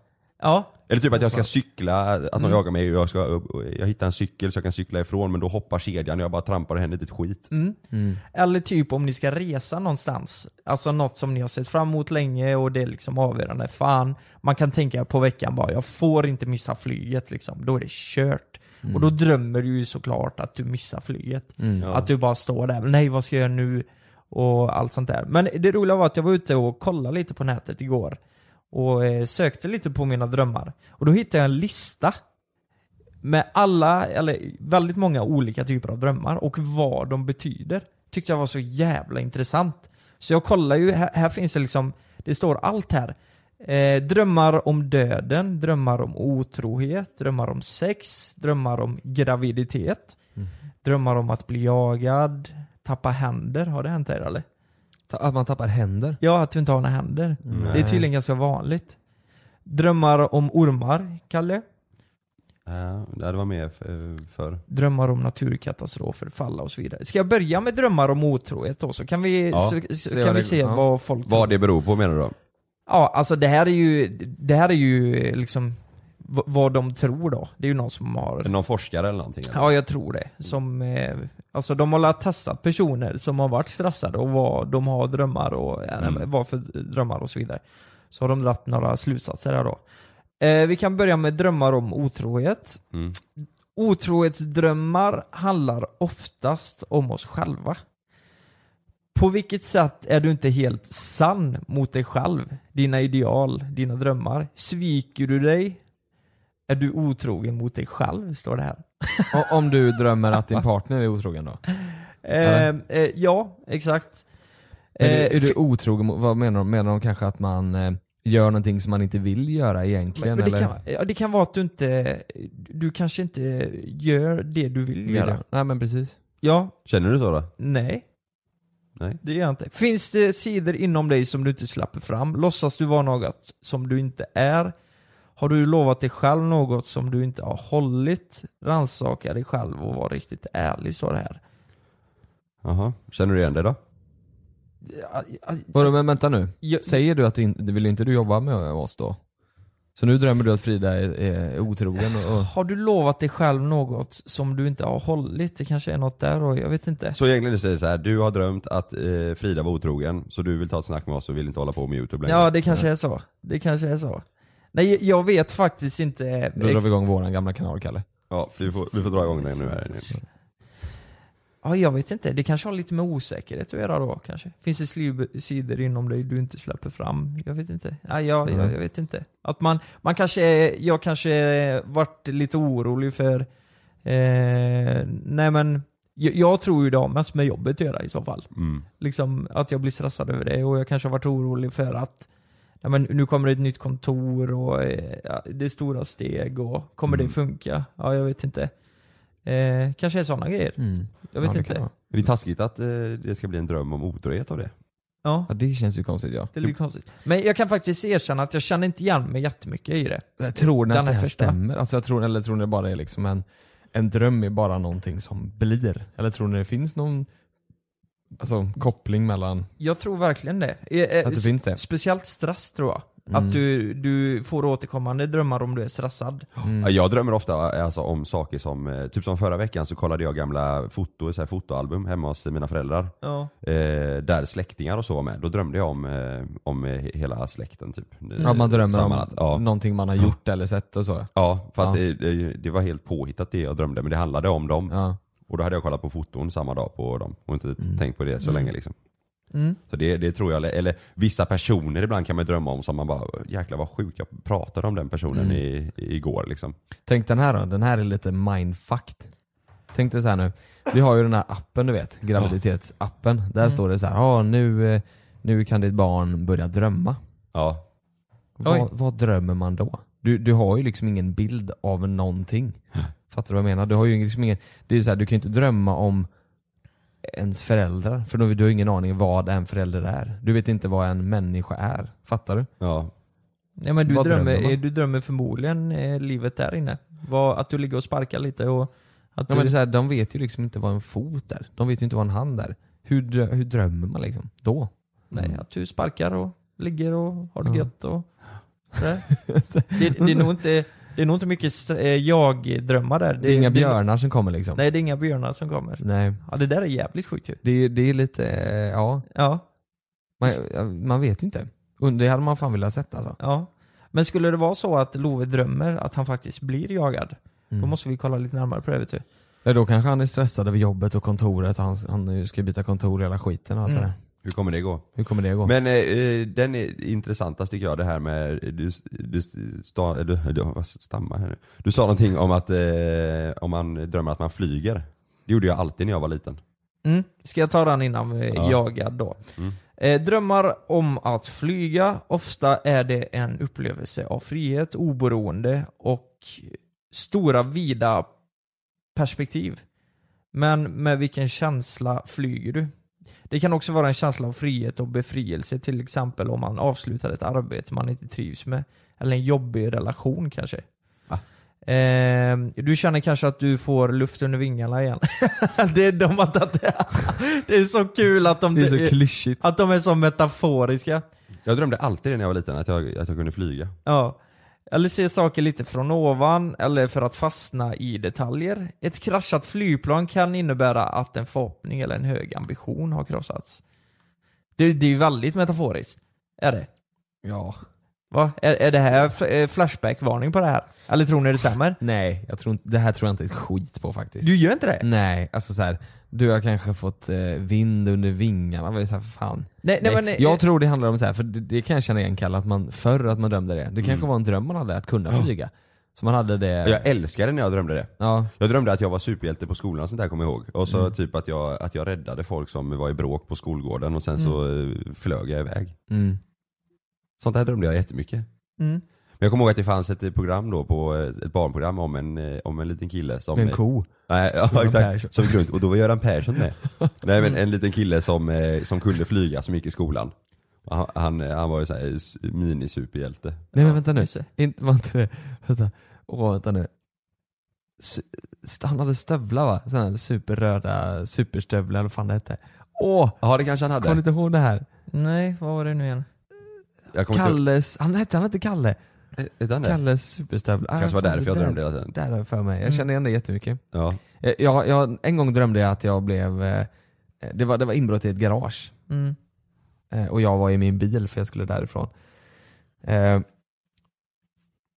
Ja, Eller typ att jag ska cykla, att någon jagar mig och jag, ska, och jag hittar en cykel så jag kan cykla ifrån men då hoppar kedjan och jag bara trampar och det händer inte ett skit. Mm. Eller typ om ni ska resa någonstans. Alltså något som ni har sett fram emot länge och det är liksom avgörande. Fan, man kan tänka på veckan bara, jag får inte missa flyget liksom. Då är det kört. Mm. Och då drömmer du ju såklart att du missar flyget. Mm. Ja. Att du bara står där, nej vad ska jag göra nu? Och allt sånt där. Men det roliga var att jag var ute och kollade lite på nätet igår. Och eh, sökte lite på mina drömmar. Och då hittade jag en lista med alla, eller väldigt många olika typer av drömmar och vad de betyder. Tyckte jag var så jävla intressant. Så jag kollar ju, här, här finns det liksom, det står allt här. Eh, drömmar om döden, drömmar om otrohet, drömmar om sex, drömmar om graviditet, Mm. drömmar om att bli jagad, tappa händer. Har det hänt dig eller? Ta- Att man tappar händer? Ja, att du inte har några händer. Nej. Det är tydligen ganska vanligt. Drömmar om ormar, Kalle. Ja, det var mer för, för. drömmar om naturkatastrofer, falla och så vidare. Ska jag börja med drömmar om otrohet då? Så kan vi, Ja. så, så, Se kan vad vi det- se ja. vad folk Vad det beror på menar du då? Ja, alltså det här är ju, det här är ju eh, liksom v- vad de tror då. Det är ju någon som har... Någon forskare eller någonting? Eller? Ja, jag tror det. Som, eh, alltså de har lärt testat personer som har varit stressade och vad de har drömmar och eh, Mm. vad för drömmar och så vidare. Så har de dragit några slutsatser här då. Eh, vi kan börja med drömmar om otrohet. Mm. Otrohetsdrömmar handlar oftast om oss själva. På vilket sätt är du inte helt sann mot dig själv, dina ideal, dina drömmar? Sviker du dig? Är du otrogen mot dig själv? Står det här. O- Om du drömmer att din partner är otrogen då? Eh, eh, ja, exakt. Men är, Eh, är du otrogen mot- vad menar de? Menar de kanske att man eh, gör någonting som man inte vill göra egentligen? men, men det, eller? kan, ja, det kan vara att du inte, du kanske inte gör det du vill Vill göra. göra. Nej men precis. Ja, Känner du så då? nej. Nej. Det gör jag inte. Finns det sidor inom dig som du inte släpper fram? Låtsas du vara något som du inte är? Har du lovat dig själv något som du inte har hållit? Rannsaka dig själv och var riktigt ärlig, så det här. Jaha, känner du igen dig då? Ja, ja, Vadå men vänta nu. Jag- Säger du att du in, vill inte du jobba med oss då? Så nu drömmer du att Frida är, är otrogen och... och Har du lovat dig själv något som du inte har hållit? Det kanske är något där och jag vet inte. Så egentligen säger det så här, du har drömt att eh, Frida var otrogen, så du vill ta ett snack med oss och vill inte hålla på med youtube längre. Ja, det kanske är så. Det kanske är så. Nej, jag vet faktiskt inte. eh, då drar ex- vi igång våran gamla kanal, Kalle. Ja, vi får, vi får dra igång den nu här. Nils. Ja, jag vet inte. Det kanske har lite med osäkerhet att göra då kanske. Finns det slib- sidor inom dig du inte släpper fram? Jag vet inte. Ja, jag, Mm. jag, jag vet inte. Att man, man kanske, är- jag kanske är- varit lite orolig för, eh, nej men, jag, jag tror ju det har mest med jobbet att göra i så fall. Mm. Liksom att jag blir stressad över det och jag kanske har varit orolig för att nej men, nu kommer det ett nytt kontor och eh, ja, det är stora steg och kommer Mm. det funka? Ja, jag vet inte. Eh, kanske är sådana grejer. typ. Jag vet inte. Mm. Det är taskigt att eh, det ska bli en dröm om otrohet av det. Ja. det känns ju konstigt ja. Det är lite konstigt. Men jag kan faktiskt erkänna att jag känner inte igen mig jättemycket i det. Jag tror ni Den att det här här första. stämmer? Alltså jag tror, eller tror ni det bara är liksom en, en dröm är bara någonting som blir? Eller tror ni det finns någon alltså, koppling mellan... Jag tror verkligen det. Eh, eh, Att det s- finns det? Speciellt stress tror jag. Mm. Att du, du får återkommande drömmar om du är stressad. Mm. Ja, Jag drömmer ofta eh, alltså, om saker som, eh, typ som förra veckan så kollade jag gamla foto, så här, fotoalbum hemma hos alltså, mina föräldrar. Ja. Eh, där släktingar och så var med. Då drömde jag om, eh, om eh, hela släkten typ. Ja, man drömmer om Samlat. Ja. någonting man har gjort eller sett och så? Ja, fast Ja. Det, det, det var helt påhittat det jag drömde, men det handlade om dem. Och då hade jag kollat på foton samma dag på dem och inte tänkt på det så Mm. länge liksom. Mm. Så det, det tror jag, eller vissa personer ibland kan man drömma om som man bara, jäklar vad sjuk, jag pratade om den personen Mm. i, igår liksom. Tänk den här då, den här är lite mindfucked. Tänk dig så här nu, vi har ju den här appen du vet, graviditetsappen. Där Mm. står det så här, ah, nu, eh, nu kan ditt barn börja drömma. Ja. Oj. Vad, vad drömmer man då? Du, du har ju liksom ingen bild av någonting. Fattar du vad jag menar? Du har ju liksom ingen, det är så här, du kan ju inte drömma om ens föräldrar, för då, du har ingen aning vad en förälder är. Du vet inte vad en människa är. Fattar du? Ja. Nej, men du, Vad drömmer, drömmer man? eh, du drömmer förmodligen eh, livet där inne. Vad, att du ligger och sparkar lite och att Ja, du... men det är så här, de vet ju liksom inte vad en fot är. De vet ju inte vad en hand är. Hur, drö- hur drömmer man liksom? Då? Nej, [laughs] att du sparkar och ligger och har det Ja. gött och sådär. det, det, är nog inte, det är nog inte mycket st- eh, jag-drömmar där. Det är inga Mm. björnar som kommer liksom. Nej, det är inga björnar som kommer. Nej. Ja, det där är jävligt sjukt ju. Det, är- det är lite, eh, ja. Ja. Man, man vet ju inte. Und- Det hade man fan velat sett alltså. Ja. Men skulle det vara så att Love drömmer att han faktiskt blir jagad, då Mm. måste vi kolla lite närmare på det vet du. Ja, då kanske han är stressad över jobbet och kontoret och han, han ska byta kontor och hela skiten och allt Mm. det där. Hur kommer det gå? Hur kommer det gå? Men eh, eh, den är intressantast tycker jag det här med, du, du, sta, du, du vad stammar här nu. Du sa någonting om att eh, om man drömmer att man flyger. Det gjorde jag alltid när jag var liten. Mm. Ska jag ta den innan eh, Ja. jagad då? Mm. Eh, drömmar om att flyga, ofta är det en upplevelse av frihet, oberoende och stora vida perspektiv. Men med vilken känsla flyger du? Det kan också vara en känsla av frihet och befrielse, till exempel om man avslutar ett arbete man inte trivs med, eller en jobbig relation kanske. Eh, du känner kanske att du får luft under vingarna igen. [laughs] det är de har tagit det. [laughs] det är så kul att de, Det är så klyschigt. att de är så metaforiska. Jag drömde alltid det när jag var liten, att jag, att jag kunde flyga. Ja. Eller se saker lite från ovan, eller för att fastna i detaljer. Ett kraschat flygplan kan innebära att en förhoppning eller en hög ambition har krossats. Det, det är ju väldigt metaforiskt. Är det? Ja. Va? Är, är det här f- eh, flashback-varning på det här? Eller tror ni det stämmer? Nej, jag tror inte, det här tror jag inte ett skit på faktiskt. Du gör inte det? Nej, alltså så här. Du har kanske fått eh, vind under vingarna, vad är det så här för fan? Nej, nej, men, eh, jag eh, tror det handlar om så här, för det, det kan jag känna igen Kalle, att man förr att man drömde det. Det kanske var en dröm man hade, att kunna flyga. Så man hade det... Mm. Jag älskade när jag drömde det. Ja. Mm. Jag drömde att jag var superhjälte på skolan och sånt där kommer jag ihåg. Och så typ att jag, att jag räddade folk som var i bråk på skolgården och sen så eh, flög jag iväg. Mm. Sånt där drömde jag jättemycket. Mm. Men jag kommer ihåg att det fanns ett eh, program då, på, eh, ett barnprogram om en, eh, om en liten kille som... eh, Med en ko. Nej, ja, Göran exakt. Persson. Som gick runt, och då var Göran Persson [laughs] med. Nej men en liten kille som, eh, som kunde flyga, som gick i skolan. Och Han, han, eh, han var ju såhär s- mini-superhjälte. Nej men [laughs] vänta nu. just det. Inte, var inte det, vänta. Åh vänta nu. S- st- han hade stövlar va? Sådana här superröda superstövlar eller vad fan det hette. Åh! Ja det kanske han Kommer ni hade. inte ihåg det här? Nej, vad var det nu igen? Jag kommer inte- Eh, Kalles, han hette han inte Kalle? den där? Kalles superstövlar. Ah, Kanske var fan, därför jag där- drömde hela tiden. Där har jag för mig. Jag Mm. känner igen det jättemycket. Ja. Eh, Jag, jag, en gång drömde jag att jag blev... eh, Det var, det var inbrott i ett garage. Mm. Eh, Och jag var i min bil för jag skulle därifrån. Eh,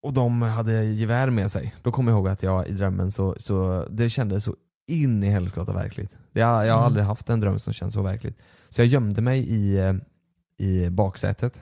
Och de hade gevär med sig. Då kommer jag ihåg att jag i drömmen så, så det kändes så in i helskotta verkligt. Det, jag jag har Mm. aldrig haft en dröm som känns så verkligt. Så jag gömde mig i, eh, i baksätet.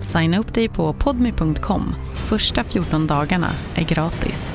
Signa upp dig på podmi.com. Första 14 dagarna är gratis.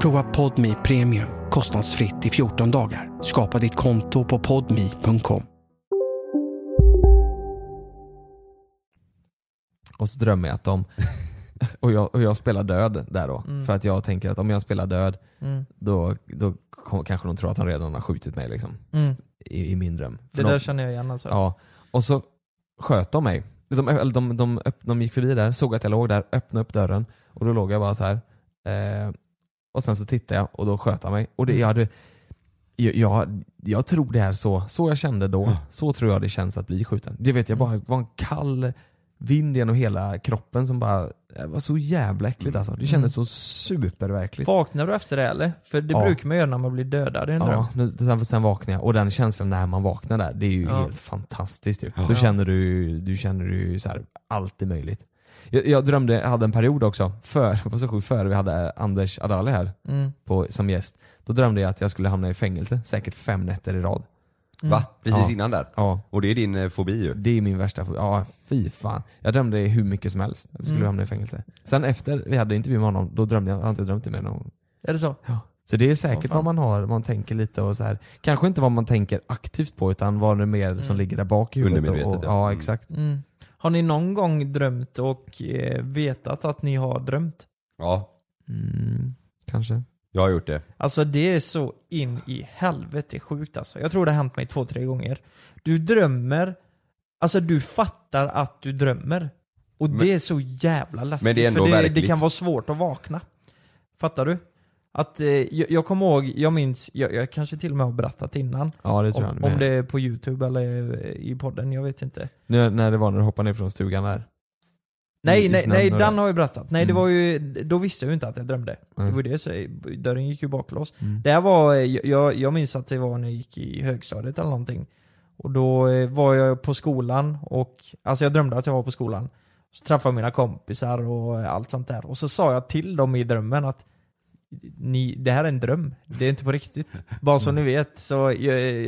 Prova Podmi Premium kostnadsfritt i 14 dagar. Skapa ditt konto på podmi.com. Och så drömmer jag [laughs] att de... Och jag, och jag spelar död där då. Mm. För att jag tänker att om jag spelar död, Mm. då, då kom- kanske de tror att han redan har skjutit mig liksom. Mm. I, I min dröm. Det de, där känner jag igen alltså. Ja. Och så sköt de mig. De, eller de, de, öpp- de gick förbi där, såg att jag låg där, öppnade upp dörren och då låg jag bara så här. Eh, och sen så tittade jag och då sköt han mig. Och det, jag, hade, jag, jag, jag tror det är så, så jag kände då. Så tror jag det känns att bli skjuten. Det vet jag bara, det var en kall vind genom hela kroppen som bara, det var så jävla äckligt alltså. Det kändes så superverkligt. Vaknar du efter det eller? För det Ja. brukar man göra när man blir dödad i en dröm. Ja, nu- sen, sen vaknar jag. Och den känslan när man vaknar där, det är ju Ja. helt fantastiskt. Typ. Ja. Då känner du, du känner du så här, allt är möjligt. Jag, jag drömde, jag hade en period också, för, [laughs] vad så sjukt, före vi hade Anders Adali här Mm. på, som gäst. Då drömde jag att jag skulle hamna i fängelse, säkert fem nätter i rad. Mm. Va? Precis Ja. innan där? Ja. Och det är din eh, fobi ju? Det är min värsta fobi. Ja, fy fan. Jag drömde hur mycket som helst. att Jag skulle Mm. hamna i fängelse. Sen efter vi hade intervju med honom, då drömde jag, jag har inte drömt det mer någon gång. Är det så? Ja. Så det är säkert Åh, fan. vad man har, man tänker lite och så här. Kanske inte vad man tänker aktivt på utan vad det är mer som Mm. ligger där bak i huvudet. Och, och, Undermedvetet, ja. ja. exakt. Mm. Har ni någon gång drömt och eh, vetat att ni har drömt? Ja. Mm, kanske. Jag har gjort det. Alltså det är så in i helvete sjukt alltså. Jag tror det har hänt mig två, tre gånger. Du drömmer, alltså du fattar att du drömmer. Och det är så jävla läskigt. men det är ändå för det, det verkligt. kan vara svårt att vakna. Fattar du? Att, eh, jag, jag kommer ihåg, jag minns, jag, jag kanske till och med har berättat innan. Ja, det tror om, jag med. om det är på youtube eller eh, i podden, jag vet inte. Nu, när det var när du hoppade ner från stugan där. Nej, I nej, snön nej och- den har jag berättat. Nej, Mm. det var ju, då visste jag ju inte att jag drömde. Nej. Det var det, så jag- dörren gick ju baklås. Mm. Det här var, eh, jag, jag minns att det var när jag gick i högstadiet eller någonting. Och då eh, var jag på skolan och, alltså jag drömde att jag var på skolan. Så träffade jag mina kompisar och eh, allt sånt där. Och så sa jag till dem i drömmen att ni, det här är en dröm. Det är inte på riktigt. Bara så ni vet. Så jag,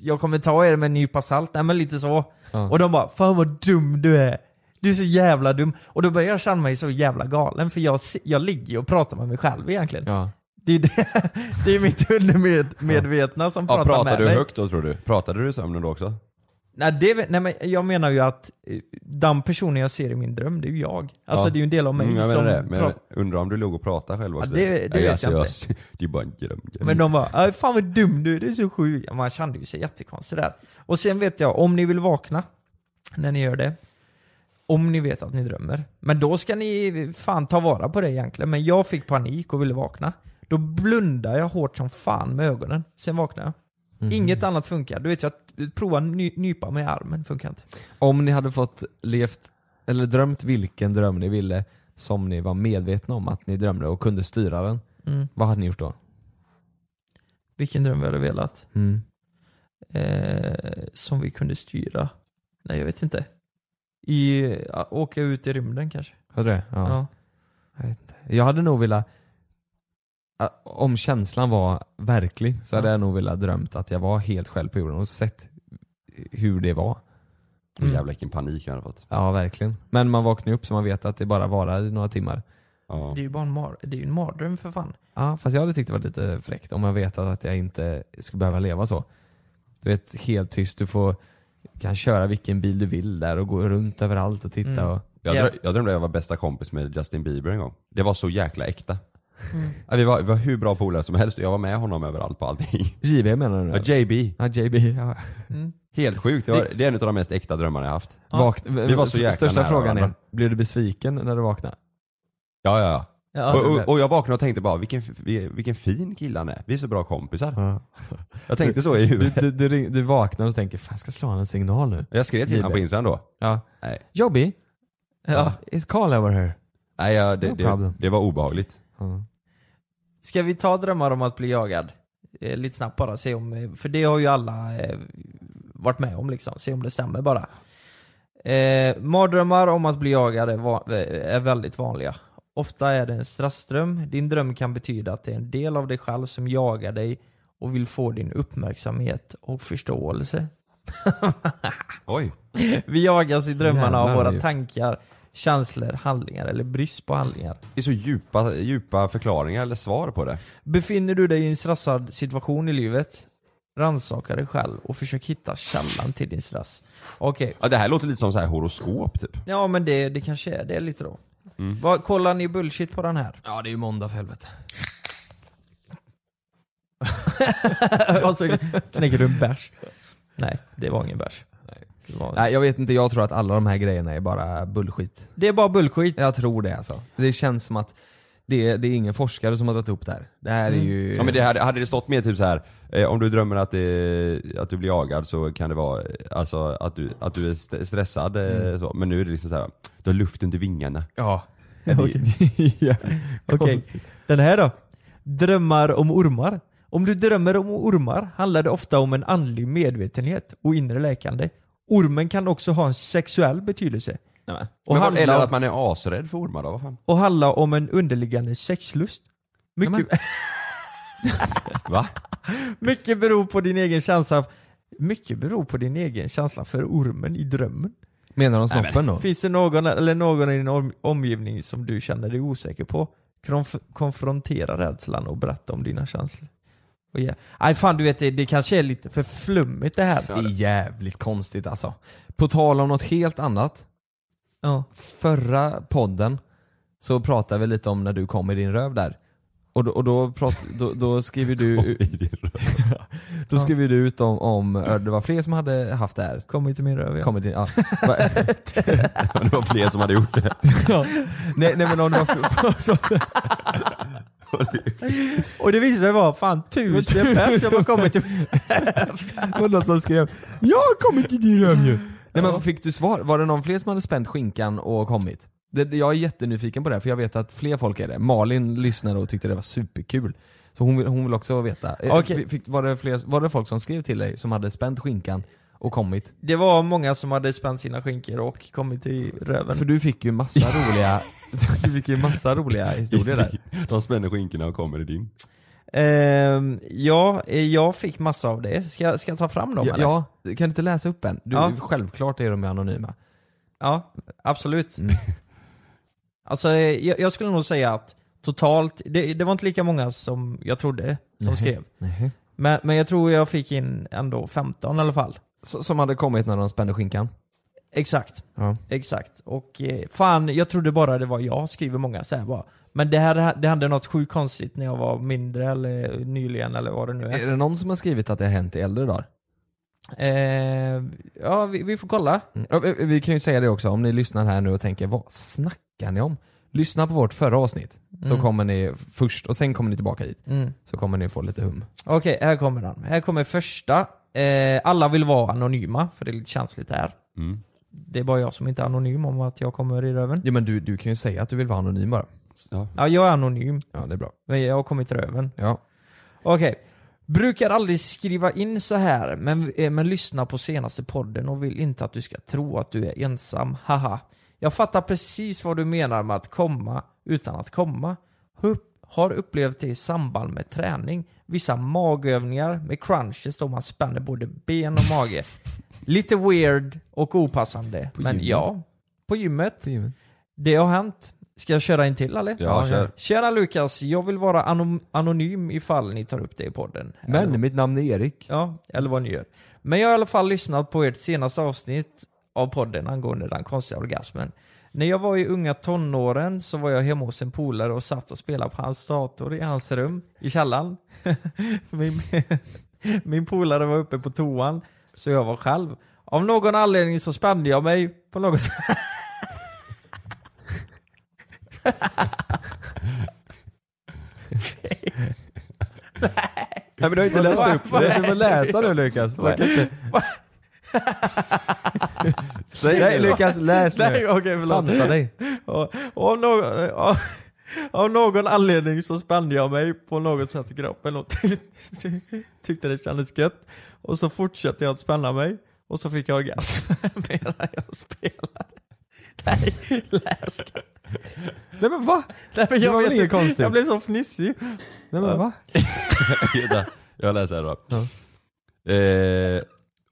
jag kommer ta er med en nypa salt. Nej men lite så. Ja. Och de bara 'Fan vad dum du är' Du är så jävla dum. Och då börjar jag känna mig så jävla galen för jag, se- jag ligger ju och pratar med mig själv egentligen. Ja. Det är det, [laughs] det är mitt undermedvetna som Ja, pratar pratade med du mig. högt då tror du? Pratade du i sömnen då också? Nej, det, nej men jag menar ju att eh, den personen jag ser i min dröm, det är ju jag. Alltså Ja. det är ju en del av mig Mm, jag som menar det. Men jag pratar. undrar om du låg och pratade själv också? Ja, det- det Nej, vet alltså, jag inte. s- Det är bara en dröm. Men de bara "Aj, 'Fan vad dum du är, du är så sjuk' Ja, Man kände ju sig jättekonstig där. Och sen vet jag, om ni vill vakna när ni gör det Om ni vet att ni drömmer. Men då ska ni fan ta vara på det egentligen. Men jag fick panik och ville vakna. Då blundade jag hårt som fan med ögonen. Sen vaknade jag. Mm. Mhm. Inget annat funkar. Du vet, jag provade ny, nypa mig i armen. Funkar inte. Om ni hade fått levt, eller drömt vilken dröm ni ville som ni var medvetna om att ni drömde och kunde styra den. Mm. Vad hade ni gjort då? Vilken dröm vi hade velat. Mm. Eh, som vi kunde styra. Nej, jag vet inte. I, ja, åka ut i rymden kanske. Hade du det? Ja. Ja. Jag, vet inte. jag hade nog velat, ä, om känslan var verklig så hade Ja. jag nog velat drömt att jag var helt själv på jorden och sett hur det var. Mm. Jävlar vilken panik jag hade fått. Ja, verkligen. Men man vaknar ju upp så man vet att det bara varar i några timmar. Ja. Det är ju bara en, mar- det är ju en mardröm för fan. Ja, fast jag hade tyckt det var lite fräckt om jag vetat att jag inte skulle behöva leva så. Du vet, helt tyst. Du får, kan köra vilken bil du vill där och gå runt överallt och titta. Mm. Och, Jag, drö- jag drömde jag var bästa kompis med Justin Bieber en gång. Det var så jäkla äkta. Ja, Vi, var, vi var hur bra polare som helst och jag var med honom överallt på allting. JB menar du nu? Ja, JB. Ja, JB. Ja. Helt sjukt, det, var, det är en av de mest äkta drömmarna jag haft. Vakt, Vi var så jäkla Största nära frågan är, varandra. blir du besviken när du vaknar? Ja, ja, Ja, ja. Och, det- och, och jag vaknade och tänkte bara vilken, f- vi- vilken fin kille han är. Vi är så bra kompisar. [laughs] Jag tänkte så i huvudet. Du, du, du, ring- du vaknar och tänker, fan jag ska slå honom en signal nu. Jag skrev till JB. honom på Instagram då. Ja. Nej. Jobby? Ja. Is Carl over here? Nej, ja, det, No det, problem. det var obehagligt. Ska vi ta drömmar om att bli jagad? Eh, lite snabbt bara, se om, eh, för det har ju alla eh, varit med om liksom, se om det stämmer bara. Eh, mardrömmar om att bli jagad är, va- eh, är väldigt vanliga. Ofta är det en strassdröm. Din dröm kan betyda att det är en del av dig själv som jagar dig och vill få din uppmärksamhet och förståelse. [laughs] Oj. Vi jagas i drömmarna av Jävlar, våra ju. tankar, känslor, handlingar eller brist på handlingar. Det är så djupa, djupa förklaringar eller svar på det. Befinner du dig i en stressad situation i livet? Rannsaka dig själv och försök hitta källan till din stress. Okej. Ja, det här låter lite som så här horoskop typ. Ja men det, det kanske är det lite då. Vad, kollar ni bullshit på den här? Ja det är ju måndag för helvete. [laughs] och så knäcker du en bärs. Nej, det var ingen bärs. Det, var... Nej jag vet inte, jag tror att alla de här grejerna är bara bullskit. det är bara bullskit. Jag tror det alltså. Det känns som att det, det är ingen forskare som har dragit upp det här. Det här är ju... Ja, men det hade, hade det stått mer typ så här eh, om du drömmer att, eh, att du blir jagad så kan det vara eh, alltså, att, du, att du är st- stressad. eh, Mm. Så. Men nu är det liksom så här du har luften till vingarna. Ja. Okej, den här då? Drömmar om ormar. Om du drömmer om ormar handlar det ofta om en andlig medvetenhet och inre läkande. Ormen kan också ha en sexuell betydelse. Och Och men, vad- handla eller om- att man är asrädd för ormar då, vad fan? och handlar om en underliggande sexlust. Mycket, Va? mycket beror på din egen känsla mycket beror på din egen känsla för ormen i drömmen. Menar de snoppen då? Finns det någon eller någon i din om- omgivning som du känner dig osäker på? Konf- konfrontera rädslan och berätta om dina känslor. Och ja. Aj, fan du vet, det, det kanske är lite för flummigt det här. Det är jävligt konstigt alltså. På tal om något helt annat. Ja. Förra podden så pratade vi lite om när du kom i din röv där. Och då, och då, prat, då, då skriver [laughs] du... då skriver du ut om, om det var fler som hade haft det här. Kom inte min röv ja. Kom i din, [laughs] ja. Va- det var fler som hade gjort det. ja. nej, nej men om det var... fl- så- [laughs] Och det visade sig vara fan tusen pers som har [laughs] kommit till Det var någon som skrev 'Jag har kommit i din röv ju' Nej men vad fick du svar? Var det någon fler som hade spänt skinkan och kommit? Det, jag är jättenyfiken på det här, för jag vet att fler folk är det. Malin lyssnade och tyckte det var superkul. Så hon vill, hon vill också veta. Eh, Okej. Fick, var, det fler, var det folk som skrev till dig som hade spänt skinkan och kommit? Det var många som hade spänt sina skinkor och kommit till röven. För du fick ju massa roliga, [laughs] du fick ju massa roliga historier där. De spänner skinkorna och kommer i din. Ehm, ja, eh, jag fick massa av det. Ska, jag- ska jag ta fram dem Ja, eller? ja, kan du inte läsa upp en? Du, Ja. Självklart är de ju anonyma. Ja, absolut. Mm. [laughs] Alltså, eh, jag, jag skulle nog säga att totalt, det, det var inte lika många som jag trodde som Nej, skrev. nej. Men, men jag tror jag fick in ändå 15 i alla fall. Så, som hade kommit när de spände skinkan? Exakt. Ja. Exakt. Och eh, fan, jag trodde bara det var jag, skriver många så här bara. Men det här det hände något sjukt konstigt när jag var mindre eller nyligen eller vad det nu är. Eh. Är det någon som har skrivit att det har hänt i äldre dagar? Eh, ja, vi, vi får kolla. Mm. Ja, vi- Vi kan ju säga det också, om ni lyssnar här nu och tänker vad snackar ni om? Lyssna på vårt förra avsnitt, så Mm. kommer ni först och sen kommer ni tillbaka hit. Mm. Så kommer ni få lite hum. Okej, här kommer den. Här kommer första. Eh, alla vill vara anonyma, för det är lite känsligt här. Mm. Det är bara jag som inte är anonym om att jag kommer i röven. Ja men du, du kan ju säga att du vill vara anonym bara. Ja. Ja, jag är anonym. Ja, det är bra. Men jag har kommit i röven. Ja. Okej. Brukar aldrig skriva in så här, men, eh, men lyssna på senaste podden och vill inte att du ska tro att du är ensam. Haha. Jag fattar precis vad du menar med att komma utan att komma. Hup- Har upplevt det i samband med träning. Vissa magövningar med crunches då man spänner både ben och mage. Lite weird och opassande, men gymmet. ja. På gymmet. Det har hänt. Ska jag köra in till eller? Ja, kör. Tjena Lukas, jag vill vara anom- anonym ifall ni tar upp det i podden. Eller- Men mitt namn är Erik. Ja, eller vad ni gör. Men jag har i alla fall lyssnat på ert senaste avsnitt av podden angående den konstiga orgasmen. När jag var i unga tonåren så var jag hemma hos en polare och satt och spelade på hans dator i hans rum i källaren. [laughs] min, [laughs] min polare var uppe på toan så jag var själv. Av någon anledning så spände jag mig på något sätt. Nej men du har inte läst [laughs] upp det. Du får läsa nu Lukas. Du Nej. kan [laughs] inte- Säg Nej nu. Lukas, läs nu. [laughs] Nej, okej, förlåt. Sansa dig. Och, och av, någon, av, av någon anledning så spände jag mig på något sätt i kroppen och tyckte, tyckte det kändes gött. Och så fortsatte jag att spänna mig och så fick jag orgasm [laughs] medan jag spelade. Nej, läs. Nej men va? Nej, men Det jag var väl vet inget inte. konstigt? Jag blev så fnissig. Nej men va? [laughs] Vänta, jag läser här då. Eh,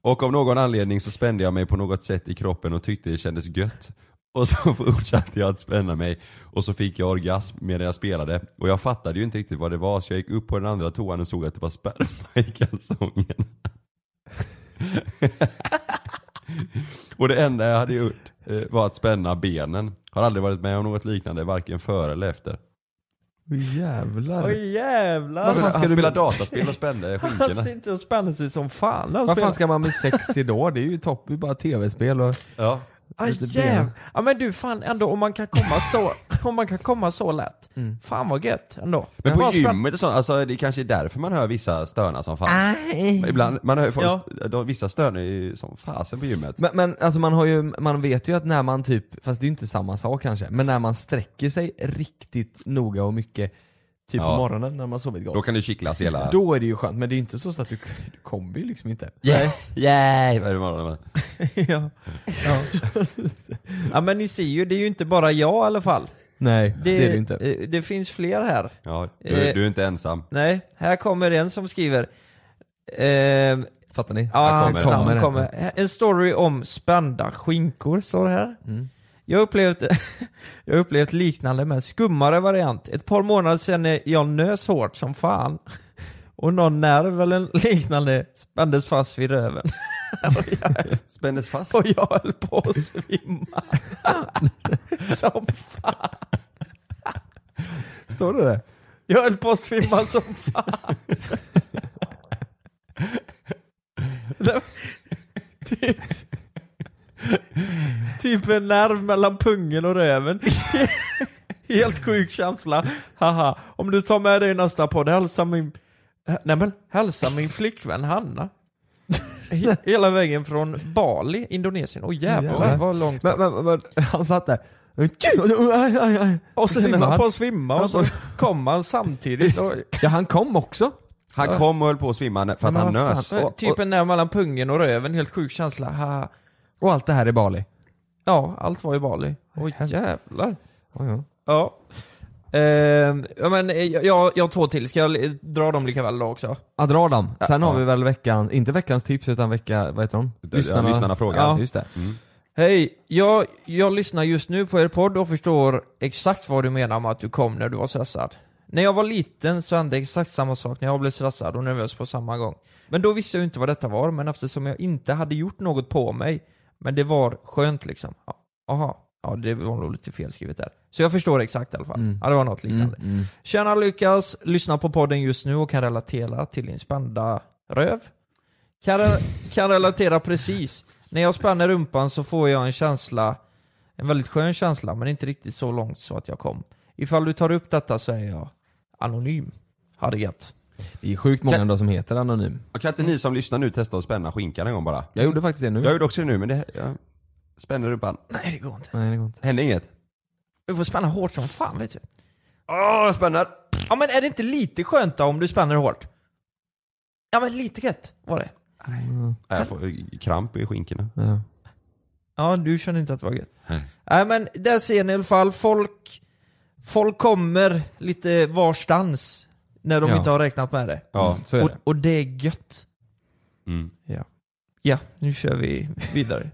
och av någon anledning så spände jag mig på något sätt i kroppen och tyckte det kändes gött. Och så [laughs] fortsatte jag att spänna mig och så fick jag orgasm medan jag spelade. Och jag fattade ju inte riktigt vad det var så jag gick upp på den andra toan och såg att det var sperma i kalsongen. [laughs] och det enda jag hade gjort eh, var att spänna benen. Har aldrig varit med om något liknande, varken före eller efter. Oj jävlar. Oj jävlar. Vad fan ska Han du- spelar dataspel och spänner [laughs] skinkorna. Han sitter och spänner sig som fan. när han Vad spelar. fan ska man med 60 då? Det är ju topp, det är bara tv-spel och... Ja. Aj, Lite ben. jäv. Ja men du fan ändå om man kan komma så, om man kan komma så lätt. Mm. Fan vad gött ändå. Men på Bara spänn- gymmet och sånt, alltså det kanske är därför man hör vissa stöna som fan. Ibland, man hör ju folk, de, vissa stönar ju som fasen på gymmet. Men, men alltså man, har ju, man vet ju att när man typ, fast det är ju inte samma sak kanske, men när man sträcker sig riktigt noga och mycket, typ Ja. på morgonen när man sovit gott. Då kan det kittlas hela... Då är det ju skönt, men det är ju inte så att du, du kommer ju liksom inte. Yeah, [laughs] yeah, varje morgon. [laughs] ja. Ja. ja men ni ser ju, det är ju inte bara jag i alla fall. Nej, det, är det ju inte. eh, Det finns fler här. Ja, du, Eh, du är inte ensam. Nej, här kommer en som skriver. Eh, Fattar ni? Ja, Här hans kommer den. namn Kommer kommer. En story om spända skinkor står det här. Mm. Jag upplevt, [laughs] jag upplevt liknande men skummare variant. Ett par månader sedan när jag nös hårt som fan och någon nerv eller liknande spändes fast vid röven. Spändes fast. Och jag höll på att svimma. som fan. Står det det? Jag höll på att svimma som fan. typ, typ en nerv mellan pungen och röven. Helt sjuk känsla. Haha, om du tar med dig i nästa podd, hälsa min... Nej men, hälsa min flickvän Hanna. He- Hela vägen från Bali, Indonesien. Åh jävlar Jävlar. vad långt. Men, men, men, han satt där. Och sen höll han på att svimma och Han så kom han samtidigt. [laughs] Och, Ja han kom också. Han kom och höll på att svimma när- för att Men han vad fan. nös. Och- typ en nerv mellan pungen och röven, helt sjuk känsla. Haha. Och allt det här i Bali. Ja, allt var i Bali. Oj jävlar. Ja, ja. Ja. Ehm, ja men eh, jag, jag, jag har två till, ska jag eh, dra dem lika väl då också? Ja, dra dem. Sen Ja. har vi väl veckan, inte veckans tips utan vecka, vad heter de? Lyssnarna, lyssnarna frågar. Mm. Ja, just det. Hej, jag, jag lyssnar just nu på er podd och förstår exakt vad du menar med att du kom när du var stressad. När jag var liten så hände exakt samma sak när jag blev stressad och nervös på samma gång. Men då visste jag ju inte vad detta var, men eftersom jag inte hade gjort något på mig, men det var skönt liksom. Ja, Aha, ja det var nog lite felskrivet där. Så jag förstår exakt i alla fall. Mm. Ja, det var något liknande. Mm, mm. Tjena Lukas, lyssnar på podden just nu och kan relatera till din spända röv. Kan, re- kan relatera precis. När jag spänner rumpan så får jag en känsla, en väldigt skön känsla, men inte riktigt så långt så att jag kom. Ifall du tar upp detta så är jag anonym. Hade gött. Det är sjukt många ändå som heter anonym. Och kan inte ni som lyssnar nu testa att spänna skinkan en gång bara? Jag gjorde faktiskt det nu. Jag gjorde också det nu, men det... Jag spänner rumpan. Nej, det går inte. Nej, det går inte. Hände inget? Du får spänna hårt som fan vet du. Åh, jag spänner! Ja men är det inte lite skönt då om du spänner hårt? Ja men lite gött var det. Nej, jag får kramp i skinkorna. Ja, du känner inte att det var gött. Nej men där ser ni i alla fall, folk, folk kommer lite varstans när de Ja. inte har räknat med det. Ja, så är och, det. och det är gött. Mm. Ja. Ja, nu kör vi vidare.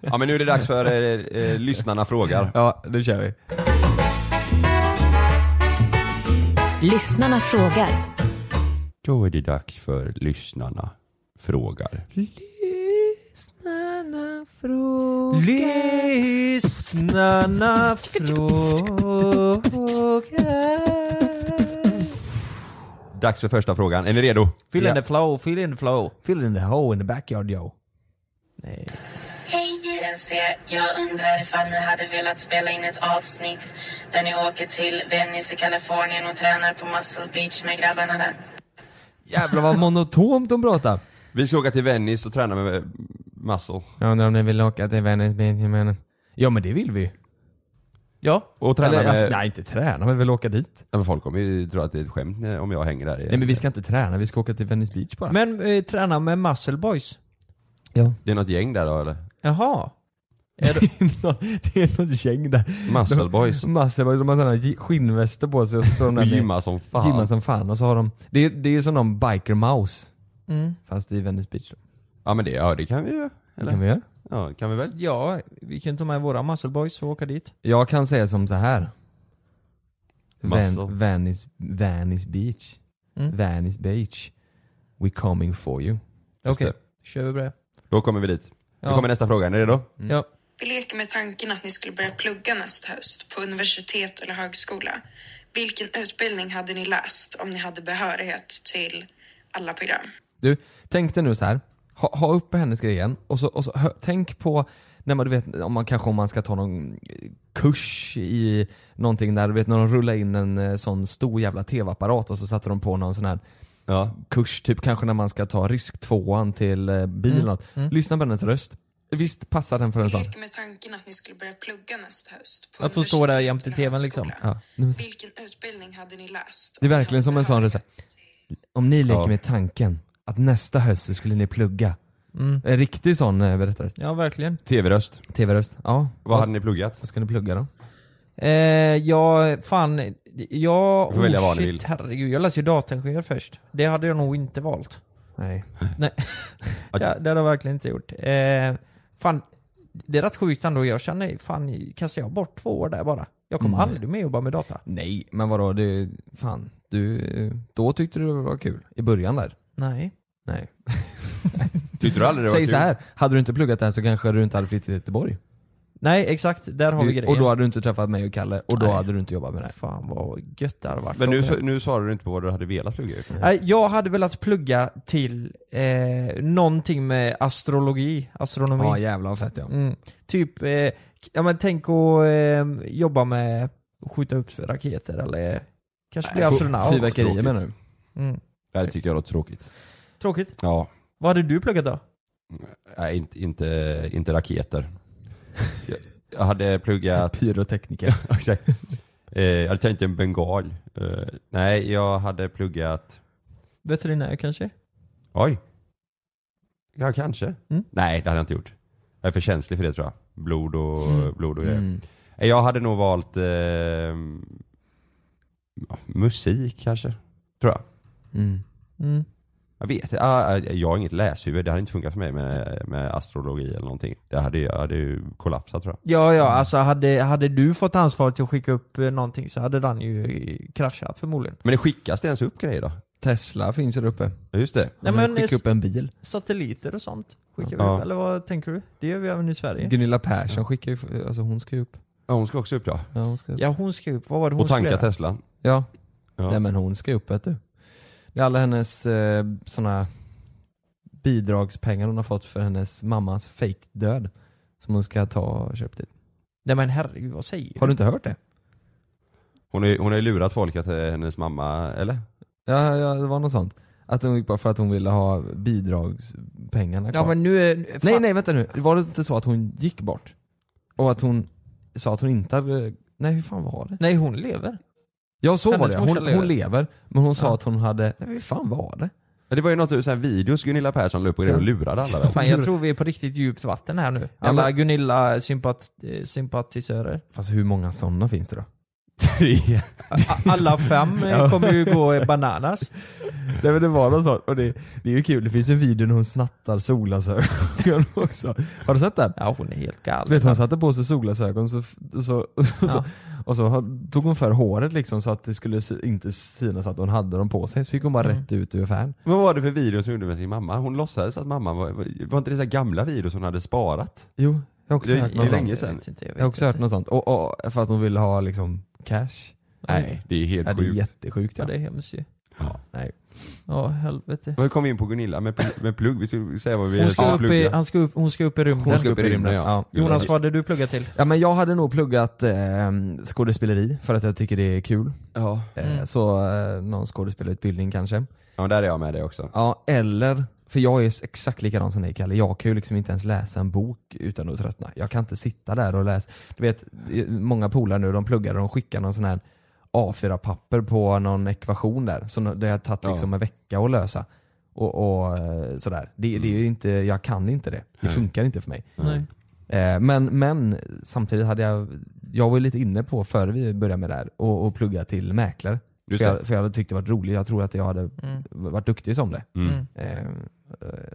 Ja men nu är det dags för eh, eh, lyssnarna frågar. Ja, nu kör vi. Lyssnarna frågar. Då är det dags för lyssnarna frågar. Lyssnarna frågar. Dags för första frågan. Är ni redo? Fill in the flow, fill in the flow. Fill in the hole in the backyard yo. Hej JNC! Jag undrar ifall ni hade velat spela in ett avsnitt där ni åker till Venice i Kalifornien och tränar på Muscle Beach med grabbarna där. Jävlar vad monotont de pratar. Vi ska åka till Venice och träna med eh, Muscle. [laughs] Jag undrar om ni vill åka till Venice Beach men... Ja men det vill vi ju. Ja. Och träna Eller, med... alltså, nej inte träna men väl åka dit. Ja, men folk kommer ju tro att det är ett skämt när- om jag hänger där. Nej men vi ska inte träna, vi ska åka till Venice Beach bara. Men eh, träna med Muscle Boys. Det är något gäng där då eller? Jaha. [laughs] det är något gäng där. [laughs] Muscle Boys. De, muscle boys, de har sådana gi- skinnväster på sig och så står de där Och med- gymmar som fan. Gymmar som fan och så har de, det, är- det är ju som de biker mouse. Mm. Fast i Venice Beach då. Ja men det, ja, det kan vi ju. Eller? kan vi göra. Ja, kan vi väl? Ja, vi kan ta med våra Muscle Boys och åka dit. Jag kan säga som så här. Muscle. Van, Venice, Venice Beach. Mm. Venice Beach. We coming for you. Okej, kör vi på det. Då kommer vi dit. Ja. Nu kommer nästa fråga, är ni redo? Ja. Vi leker med tanken att ni skulle börja plugga nästa höst på universitet eller högskola. Vilken utbildning hade ni läst om ni hade behörighet till alla program? Du, tänk dig nu så här. Ha, ha uppe hennes grejen och så, och så hö, tänk på när man, du vet, om man kanske om man ska ta någon eh, kurs i någonting där, du vet när de rullar in en eh, sån stor jävla tv-apparat och så satte de på någon sån här kurs, typ kanske när man ska ta risk tvåan till eh, bil eller något. mm. Lyssna på hennes röst. Visst passar den för en sån? Med tanken att ni skulle börja plugga nästa höst på Att få stå där jämte tvn liksom. Ja. Nu- Vilken utbildning hade ni läst? Det är verkligen som en sån röst. Om ni leker Ja. med tanken att nästa höst så skulle ni plugga. Mm. En riktig sån eh, berättarröst. Ja, verkligen. TV-röst. TV-röst, ja. Vad hade ni pluggat? Vad ska ni plugga då? Eh, jag, fan, jag... Du får välja vad ni shit, vill. herregud. Jag läste ju dataingenjör först. Det hade jag nog inte valt. Nej. Nej. ja, det hade jag verkligen inte gjort. Eh, fan, det är rätt sjukt ändå. Jag känner, fan, kastar jag bort två år där bara? Jag kommer Mm. aldrig mer jobba med data. Nej, men vadå? Det, fan, du, eh, då tyckte du det var kul. I början där. Nej. Nej. Tyckte du aldrig det var Säg kul? så här, hade du inte pluggat det här så kanske du inte hade flyttat till Göteborg. Nej, exakt. Där har vi Du- grejen. och då hade du inte träffat mig och Kalle och då Nej. hade du inte jobbat med det här. Fan vad gött det hade varit. Men nu, om så- jag- nu svarade du inte på vad du hade velat plugga. Nej, jag hade velat plugga till eh, någonting med astrologi, astronomi. Ja jävlar vad fett ja. Mm. Typ, eh, ja men tänk att eh, jobba med skjuta upp raketer eller kanske bli Nej, astronaut. Fyrverkerier menar du? Mm. Det här tycker jag låter tråkigt. Tråkigt. Ja. Vad hade du pluggat då? Nej, inte, inte, inte raketer. Jag, jag hade [laughs] pluggat... [laughs] Pyrotekniker. Exakt. Eh, jag hade tänkt en bengal. Eh, nej, jag hade pluggat... Veterinär kanske? Oj. Ja, kanske. Mm. Nej, det hade jag inte gjort. Jag är för känslig för det tror jag. Blod och, blod och grejer. Mm. Nej, Jag hade nog valt eh, ja, musik kanske. Tror jag. Mm. Mm. Jag vet jag, jag har inget läshuvud. Det hade inte funkat för mig med, med astrologi eller någonting. Det hade, jag hade ju kollapsat tror jag. Ja, ja, alltså hade, hade du fått ansvaret till att skicka upp eh, någonting så hade den ju eh, kraschat förmodligen. Men det skickas det ens upp grejer då? Tesla finns ju där uppe. Ja, just det. Nej, men- Skicka upp en bil. Satelliter och sånt skickar vi Ja. upp, eller vad tänker du? Det gör vi även i Sverige. Gunilla Persson skickar ju, alltså hon ska ju upp. Ja, hon ska också upp ja. Ja hon ska upp. Ja hon ska upp, vad var det hon Och tanka skulle göra? Teslan. Ja. Ja. Nej men hon ska upp vet du. Det är alla hennes eh, såna bidragspengar hon har fått för hennes mammas fake död Som hon ska ta och köpa dit. Nej men herregud, vad säger Har du inte hört det? Hon har ju- hon har ju lurat folk att eh, hennes mamma, eller? Ja, ja det var något sånt. Att hon gick bara för att hon ville ha bidragspengarna kvar. Ja men nu är... fan. Nej nej vänta nu, var det inte så att hon gick bort? Och att hon sa att hon inte hade... Nej hur fan var det? Nej hon lever. Ja så var Hennes det, morsa hon lever. hon lever. Men hon sa att hon hade... Nej hur fan var det? Ja, Det var ju något sån här videos Gunilla Persson la upp och grejer och lurade alla väl? Fan, jag tror vi är på riktigt djupt vatten här nu. Ja, Alla eh, men- Gunilla-sympatisörer. Fast hur många sådana finns [laughs] det då? Tre. [laughs] Alla fem eh, Ja. kommer ju gå bananas. Nej men det var något sånt, och det, det är ju kul, det finns ju en video när hon snattar solglasögon [laughs] också. Har du sett den? Ja hon är helt galen. Vet du, hon satte på sig solglasögon så, så, och så, Ja. och så har- tog hon för håret liksom så att det skulle sy- inte synas att hon hade dem på sig, så gick hon bara Mm. rätt ut ur affären. Vad var det för video som hon gjorde med sin mamma? Hon låtsades att mamma var, var inte det så här gamla videos hon hade sparat? Jo, jag har också det, hört det är något länge sånt. sedan. Jag har också hört något sånt, och, och, för att hon ville ha liksom cash. Nej, det är helt ja, Det är sjukt. jättesjukt ja. Ja, det är hemskt ju. Ja. Nej. Ja, helvete. Men Vi kom in på Gunilla med, pl- med plugg, vi skulle säga vad vi Hon ska, skulle upp i, plugga. han ska upp, hon ska upp i rymden. Hon ska upp i rymden, ja. Jonas, vad hade du pluggat till? Ja men jag hade nog pluggat eh, skådespeleri för att jag tycker det är kul. Ja. Eh, så eh, någon skådespelarutbildning kanske. Ja men där är jag med dig också. Ja, eller, för jag är exakt likadan som dig Kalle, jag kan ju liksom inte ens läsa en bok utan att tröttna. Jag kan inte sitta där och läsa. Du vet, många polare nu de pluggar och de skickar någon sån här A4-papper på någon ekvation där, som det har tagit Ja. liksom en vecka att lösa. Och, och eh, sådär. Det, det är ju inte, jag kan inte det. Det Mm. Nej. funkar inte för mig. Nej. Eh, Men, men samtidigt hade jag, jag var ju lite inne på före vi började med det här, och, och plugga till mäklare. Just För det. jag, för jag hade tyckt det var roligt, jag tror att jag hade Mm. varit duktig som det. Mm. Eh, eh,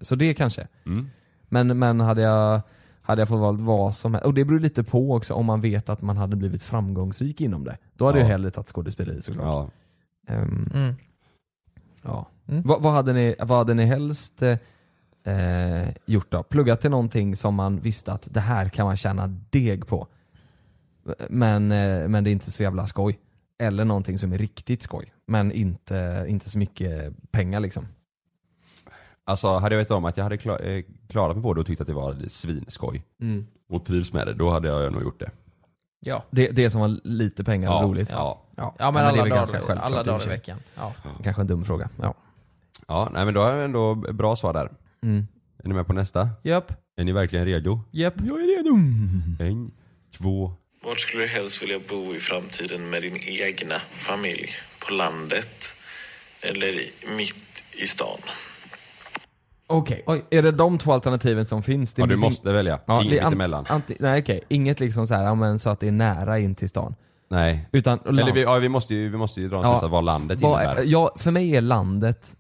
Så det kanske. Mm. Men, men hade, jag, hade jag fått valt vad som helst, och det beror lite på också om man vet att man hade blivit framgångsrik inom det. Då hade Ja. jag hellre tagit skådespeleri såklart. Ja. Mm. Ehm, Mm. ja. Vad, vad, hade ni, vad hade ni helst eh, eh, gjort då? Pluggat till någonting som man visste att det här kan man tjäna deg på. Men, eh, men det är inte så jävla skoj. Eller någonting som är riktigt skoj, men inte, inte så mycket pengar liksom. Alltså hade jag vetat om att jag hade kla- eh, klarat mig på det och tyckt att det var svinskoj Mm. och trivs med det, då hade jag nog gjort det. Ja. Det, det som var lite pengar och Ja, roligt. ja. ja. Ja, men det är alla väl dagar- ganska självklart alla dagar i och för sig. veckan. Ja. Kanske en dum fråga. Ja. Ja, nej men då har jag ändå bra svar där. Mm. Är ni med på nästa? Japp. Är ni verkligen redo? Japp. Jag är redo. Mm. En, två, Vart skulle du helst vilja bo i framtiden med din egna familj? På landet? Eller i- mitt i stan? Okej. Oj, Är det de två alternativen som finns? Det Ja, du finns ing- måste välja. Inget det är an- mittemellan. anti- nej okej, inget liksom så här, ja, men så att det är nära in till stan. nej. Utan, och land- Eller vi, ja, vi, måste ju, vi måste ju dra en Ja. slutsats vad landet Vad- innebär. Ja, för mig är landet,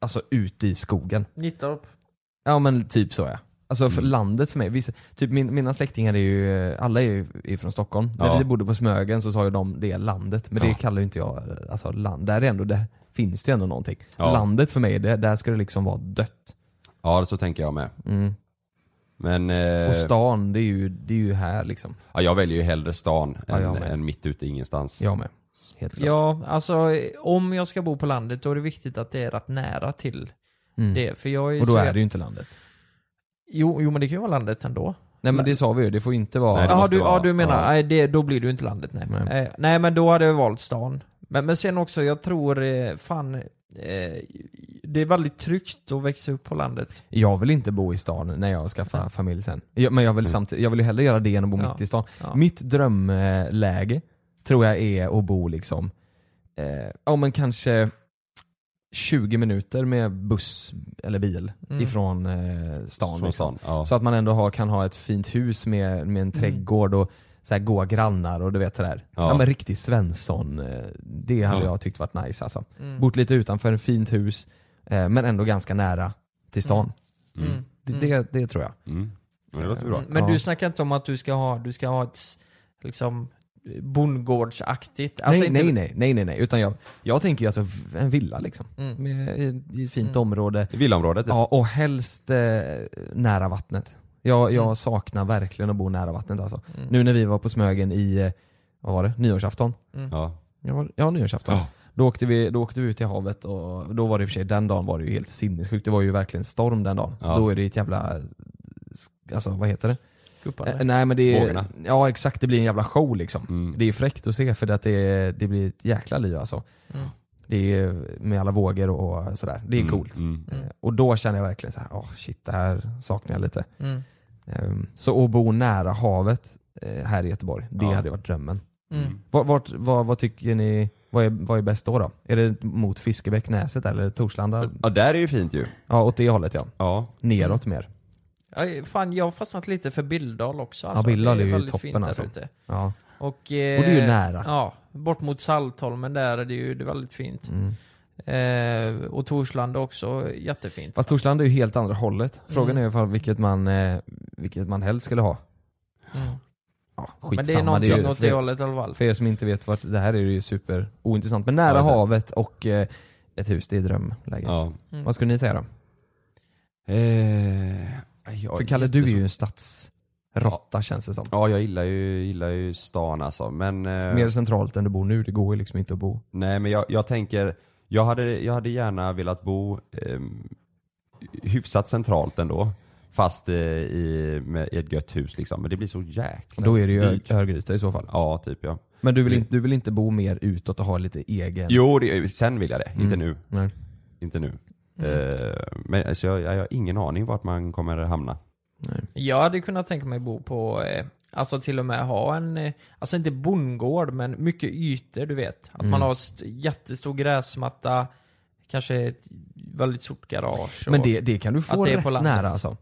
alltså ute i skogen. Nittorp. Ja men typ så ja. Alltså för Mm. landet för mig, vissa, typ min, mina släktingar är ju, alla är ju är från Stockholm. Ja. När vi bodde på Smögen så sa ju de det är landet, men det Ja. kallar ju inte jag, alltså land, där är ändå, där finns det ju ändå någonting. Ja. Landet för mig, det, där ska det liksom vara dött. Ja, så tänker jag med. Mm. Men... eh, Och stan, det är ju, det är ju här liksom. Ja, jag väljer ju hellre stan Ja, än, jag med. än mitt ute i ingenstans. Jag med. Helt klart. Ja, alltså eh, om jag ska bo på landet då är det viktigt att det är rätt nära till Mm. det. För jag är Och då så är jä- det ju inte landet. Jo, jo, men det kan ju vara landet ändå. Nej men det sa vi ju, det får inte vara... Nej, ja, du, ja, du menar, nej, det, då blir du inte landet nej. Nej. Nej. nej men då hade jag valt stan. Men, men sen också, jag tror eh, fan, eh, det är väldigt tryggt att växa upp på landet. Jag vill inte bo i stan när jag skaffar familj sen. Jag, men jag vill, samtidigt, jag vill ju hellre göra det än att bo Ja. mitt i stan. Ja. Mitt drömläge tror jag är att bo liksom, eh, ja men kanske 20 minuter med buss eller bil Mm. ifrån eh, stan. Från liksom. stan, ja. Mm. Så att man ändå har, kan ha ett fint hus med, med en trädgård och så här goa grannar och du vet sådär. Ja. Ja. men riktig Svensson. eh, Det hade Ja. jag tyckt varit nice alltså. Mm. Bott lite utanför, ett fint hus eh, men ändå ganska nära till stan. Mm. Mm. Det, det, det tror jag. Mm. Men det låter bra. Men Ja. du snackar inte om att du ska ha, du ska ha ett s- liksom bondgårdsaktigt? Alltså nej, inte, nej, nej, nej, nej, nej. Utan jag, jag tänker ju alltså v- en villa liksom. Mm. Med, i, I ett Mm. fint område. Villaområdet typ. Ja, och helst eh, nära vattnet. Jag, jag saknar verkligen att bo nära vattnet alltså. Mm. Nu när vi var på Smögen i, eh, vad var det? Nyårsafton? Ja. Ja, ja nyårsafton. Då åkte, vi, då åkte vi ut till havet och då var det i och för sig, den dagen var det ju helt sinnessjukt. Det var ju verkligen storm den dagen. Ja. Då är det ett jävla, alltså vad heter det? Guppande. Eh, nej men det är, Vågorna. Ja exakt, det blir en jävla show liksom. Mm. Det är fräckt att se för det, att det, är- det blir ett jäkla liv alltså. Mm. Det är med alla vågor och sådär. Det är Mm, coolt. mm. Eh, Och då känner jag verkligen så här, åh shit det här saknar jag lite. Mm. Ehm, Så att bo nära havet eh, här i Göteborg, det Ja. hade varit drömmen. Mm. Vart, vart, vad, vad tycker ni, vad är, vad är bäst då, då? Är det mot Fiskebäck, Näset eller Torslanda? Ja där är ju fint ju. Ja åt det hållet ja. ja. Neråt mer. Ja, fan, jag har fastnat lite för Billdal också. Ja, Alltså. Billdal Det är ju väldigt toppen, fint där alltså. ute. Ja. Och, eh, Och det är ju nära. Ja, bort mot Saltholmen där är det ju det är väldigt Mm. fint. Eh, och Torslanda också, jättefint. Fast Torslanda är ju helt andra hållet. Frågan Mm. är ifall vilket man, eh, vilket man helst skulle ha. Mm. Ja, Men det är skitsamma. någonting ju- åt för- det hållet i alla fall. För er som inte vet vart, det här är ju super ointressant. Men nära Ja, så. havet och eh, ett hus, det är drömläget. Ja. Mm. Vad skulle ni säga då? Eh, jag för är Kalle, du är ju jättesvår. en stadsrotta känns det som. Ja jag gillar ju, gillar ju stan alltså men... eh, Mer centralt än du bor nu, det går ju liksom inte att bo. Nej men jag, jag tänker, jag hade, jag hade gärna velat bo eh, hyfsat centralt ändå. Fast eh, i, med, i ett gött hus liksom. Men det blir så jäkla Då är det ju Ö- dyrt. Örgryte i så fall. Ja, typ ja. Men du vill, inte, du vill inte bo mer utåt och ha lite egen... Jo, det, sen vill jag det. Inte Mm. nu. Nej. Inte nu. Eh, men alltså, jag, jag har ingen aning vart man kommer hamna. Jag hade kunnat tänka mig bo på, eh, alltså till och med ha en, eh, alltså inte bondgård men mycket ytor du vet. Att Mm. man har st- jättestor gräsmatta, kanske ett väldigt stort garage. Men och- det, det kan du få att det är rätt på landet. nära alltså.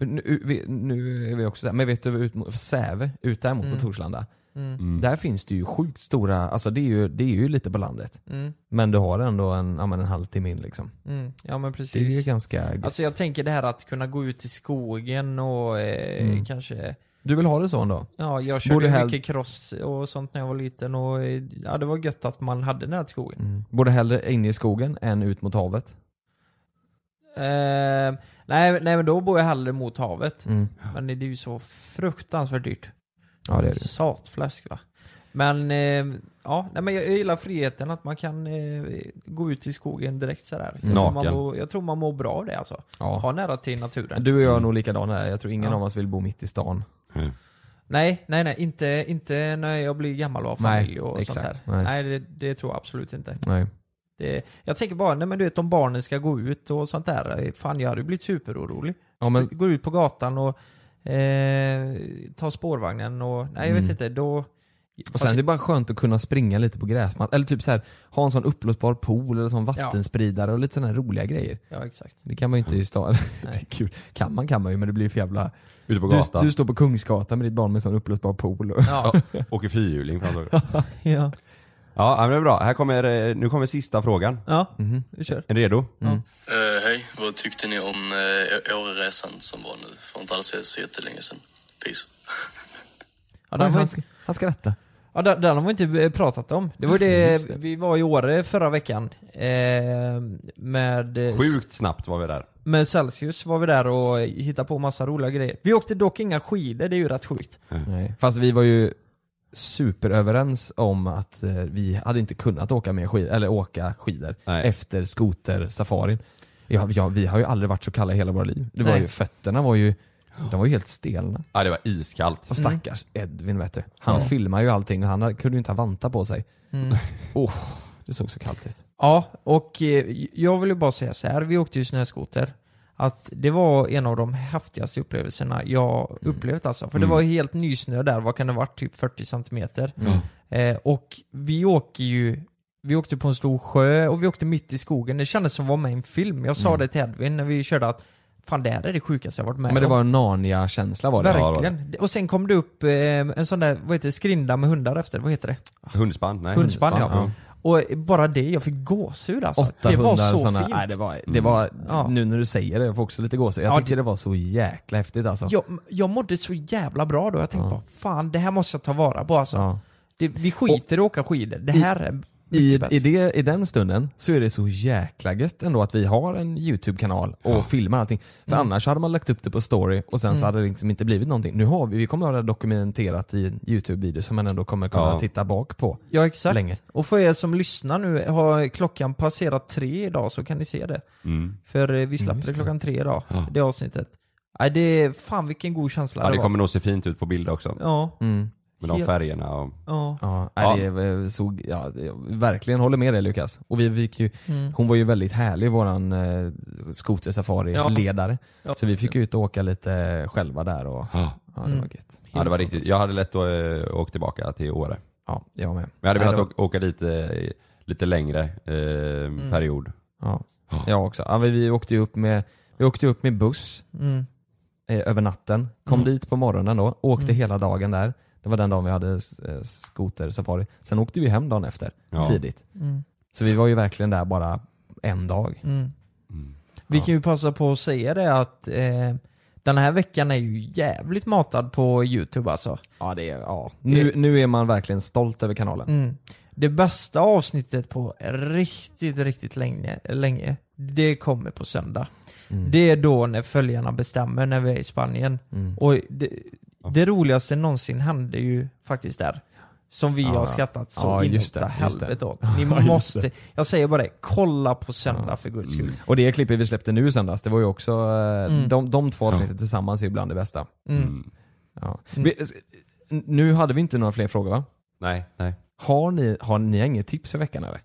Nu, vi, nu är vi också där, men vet du, ut mot Säve, ut där mot Mm. på Torslanda. Mm. Där finns det ju sjukt stora, alltså det är ju, det är ju lite på landet. Mm. Men du har ändå en, ja, men en halvtimme in liksom. Mm, ja men Det är ju precis. ganska gött. Alltså jag tänker det här att kunna gå ut i skogen och eh, Mm. kanske Du vill ha det så ändå? Ja, jag Bor körde du hell- mycket cross och sånt när jag var liten och eh, ja, det var gött att man hade nära till skogen. Mm. Borde hellre inne i skogen än ut mot havet? Eh, nej, nej men då bor jag hellre mot havet. Mm. Men det är ju så fruktansvärt dyrt. Ja det är det ju. Satfläsk va. Men eh, ja, nej, men jag jag gillar friheten att man kan eh, gå ut i skogen direkt sådär. Jag, tror man Naken. mår, jag tror man mår bra av det alltså. Ja. Ha nära till naturen. Du och jag är nog likadana här. Jag tror ingen Ja. av oss vill bo mitt i stan. Nej, nej, nej. Inte, inte när jag blir gammal och har Nej, familj och sånt exakt, där. Nej, nej. det, det tror jag absolut inte. Nej. Det, jag tänker bara, nej men du vet om barnen ska gå ut och sånt där. eh, Fan, jag hade ju blivit superorolig. Ja, men- Går ut på gatan och eh, tar spårvagnen och, nej jag vet Mm. inte, då... Och fast- sen det är bara skönt att kunna springa lite på gräsmattan. Eller typ så här, ha en sån upplåtbar pool eller sån vattenspridare och lite sådana här roliga grejer. Ja, exakt. [laughs] Det kan man ju inte i stan. [laughs] Det är kul. Kan man kan man ju men det blir ju för jävla... Ute på du, gatan. du står på Kungsgatan med ditt barn med en sån upplåtbar pool. Och... [laughs] Ja. Åker fyrhjuling framför. ja. Ja, men det är bra. Här kommer, eh, nu kommer sista frågan. Ja, vi kör. Är ni redo? Mm. Eh, hej, vad tyckte ni om uh, Åre-resan som var nu för inte alls så jättelänge sedan? Peace. Ja, Oj, den, var han, inte, sk- han skrattar. ja, den, den har vi inte eh, pratat om. Det var ju det, Just det. vi var i Åre förra veckan. Eh, med... eh, Sjukt snabbt var vi där. Med Celsius var vi där och hittade på massa roliga grejer. Vi åkte dock inga skidor, det är ju rätt sjukt. Nej. Fast vi var ju superöverens om att eh, vi hade inte kunnat åka mer skidor, eller åka skidor Nej. efter skotersafarin. Ja, ja, vi har ju aldrig varit så kalla i hela våra liv. Det var Nej. ju, fötterna var ju, de var ju helt stelna. Ja, det var iskallt. Och stackars Edvin vet du. Han Mm. Ja. filmar ju allting och han hade- kunde ju inte ha vantar på sig. Mm. Oh, det såg så kallt ut. Ja, och eh, jag vill ju bara säga så här, vi åkte ju snöskoter. Att det var en av de häftigaste upplevelserna jag upplevt alltså. För det Mm. var ju helt nysnö där, vad kan det varit? Typ 40 centimeter. Mm. Eh, och vi åker ju, vi åkte på en stor sjö och vi åkte mitt i skogen. Det kändes som att vara med i en film. Jag sa Mm. det till Edvin när vi körde att fan det här är det sjukaste jag varit med Men det om. var en Narnia-känsla var det. Verkligen. Och sen kom det upp eh, en sån där, vad heter det, skrinda med hundar efter. Vad heter det? Hundspann? Nej. Hundspann ja. Och bara det, jag fick gåshud alltså. Åtta det var hundar så och sådana. fint. Nej, det var, det var Ja. Nu när du säger det, jag får också lite gåshud. Jag Ja, tyckte det... var så jäkla häftigt alltså. jag, jag mådde så jävla bra då. Jag tänkte bara, fan det här måste jag ta vara på alltså. Ja. Det, vi skiter i att åka skidor. Det här är i, i, det, I den stunden så är det så jäkla gött ändå att vi har en YouTube-kanal och Ja. filmar allting. För Mm. annars hade man lagt upp det på story och sen så Mm. hade det liksom inte blivit någonting. Nu har vi, vi kommer att ha det dokumenterat i en YouTube-video som man ändå kommer kunna Ja. titta bak på. Ja exakt. Länge. Och för er som lyssnar nu, har klockan passerat tre idag så kan ni se det. Mm. För eh, vi släppte just det det. klockan tre idag, Ja. det avsnittet. Nej det är, fan vilken god känsla Ja, det var. kommer nog se fint ut på bild också. Ja. Mm. Med de Helt- färgerna och... Ja. Ja, nej, Det är, eh, så, ja, det- jag verkligen håller med dig Lukas. Och vi, vi gick ju, Mm. Hon var ju väldigt härlig våran eh, skotersafari-ledare. Ja. Ja. Så vi fick ju ut och åka lite själva där och ja, det Mm. var gött. Ja, det var riktigt. Jag hade lätt att eh, åka tillbaka till Åre. Ja, jag med. Men jag hade Nej, velat det åka, åka dit eh, lite längre eh, period. Mm. Ja, jag också. Ja, vi, vi, åkte ju upp med, vi åkte upp med buss Mm. eh, över natten, kom Mm. dit på morgonen då, åkte Mm. hela dagen där. Det var den dagen vi hade eh, skotersafari. Sen åkte vi hem dagen efter, Ja. tidigt. Mm. Så vi var ju verkligen där bara en dag. Mm. Vi kan ju passa på att säga det att eh, den här veckan är ju jävligt matad på YouTube alltså. Ja, det är, ja. Nu, nu är man verkligen stolt över kanalen. Mm. Det bästa avsnittet på riktigt, riktigt länge, länge det kommer på söndag. Mm. Det är då när följarna bestämmer när vi är i Spanien. Mm. Och det, det roligaste någonsin hände ju faktiskt där. Som vi Ja, har ja. skrattat så Ja, in just åtta det, just det. helvete [laughs] åt. Ja, Ni just det. måste, jag säger bara det, kolla på söndag för guds skull. Och det klippet vi släppte nu i söndags, det var ju också, eh, Mm. de, de två avsnitten tillsammans är ju bland det bästa. Mm. Ja. Vi, s- nu hade vi inte några fler frågor va? Nej, nej. Har ni, har ni inget tips för veckan eller?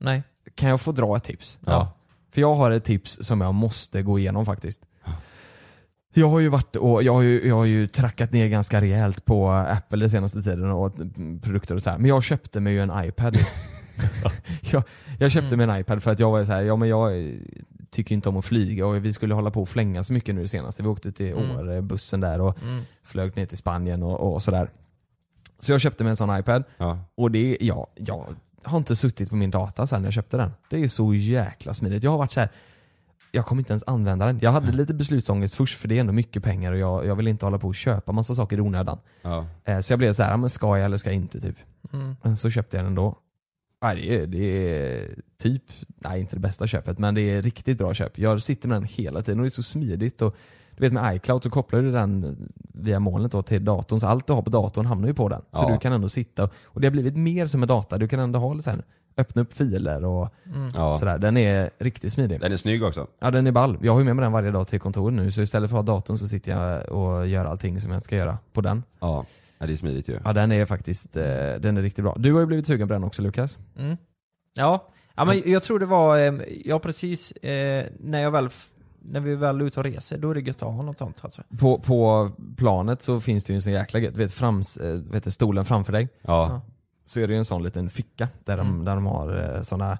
Nej. Kan jag få dra ett tips? Ja. För jag har ett tips som jag måste gå igenom faktiskt. Jag har ju varit och jag har ju, jag har ju trackat ner ganska rejält på Apple den senaste tiden och mm, produkter och så här. Men jag köpte mig ju en iPad. [laughs] jag, jag köpte mig en iPad för att jag var så här, ja men jag eh, tycker inte om att flyga och vi skulle hålla på och flänga så mycket nu det senaste. Vi åkte till Mm. Åre, bussen där och Mm. flög ner till Spanien och, och sådär. Så jag köpte mig en sån iPad och det, ja, jag har inte suttit på min data sen jag köpte den. Det är så jäkla smidigt. Jag har varit så här. jag kommer inte ens använda den. Jag hade lite beslutsångest först för det är ändå mycket pengar och jag, jag vill inte hålla på och köpa massa saker i onödan. Ja. Eh, Så jag blev så här, ja, men ska jag eller ska jag inte typ? Mm. Men så köpte jag den ändå. Nej, det, är, det är typ, nej inte det bästa köpet, men det är riktigt bra köp. Jag sitter med den hela tiden och det är så smidigt. Och, du vet med iCloud så kopplar du den via molnet då till datorn, så allt du har på datorn hamnar ju på den. Så Ja. du kan ändå sitta och, och det har blivit mer som en data. Du kan ändå ha lite så här, öppna upp filer och Mm. Ja. sådär. Den är riktigt smidig. Den är snygg också. Ja den är ball. Jag har ju med mig den varje dag till kontoret nu, så istället för att ha datorn så sitter jag och gör allting som jag ska göra på den. Ja, ja det är smidigt ju. Ja den är faktiskt, eh, den är riktigt bra. Du har ju blivit sugen på den också Lukas. Mm. Ja. ja, men jag tror det var, eh, ja precis, eh, när, jag väl, f- när vi väl är ute och reser, då är det gött att ha något sånt alltså. På, på planet så finns det ju en sån jäkla gött, du vet, frams, eh, vet det, stolen framför dig. Ja. Så är det ju en sån liten ficka där de, där de har eh, såna,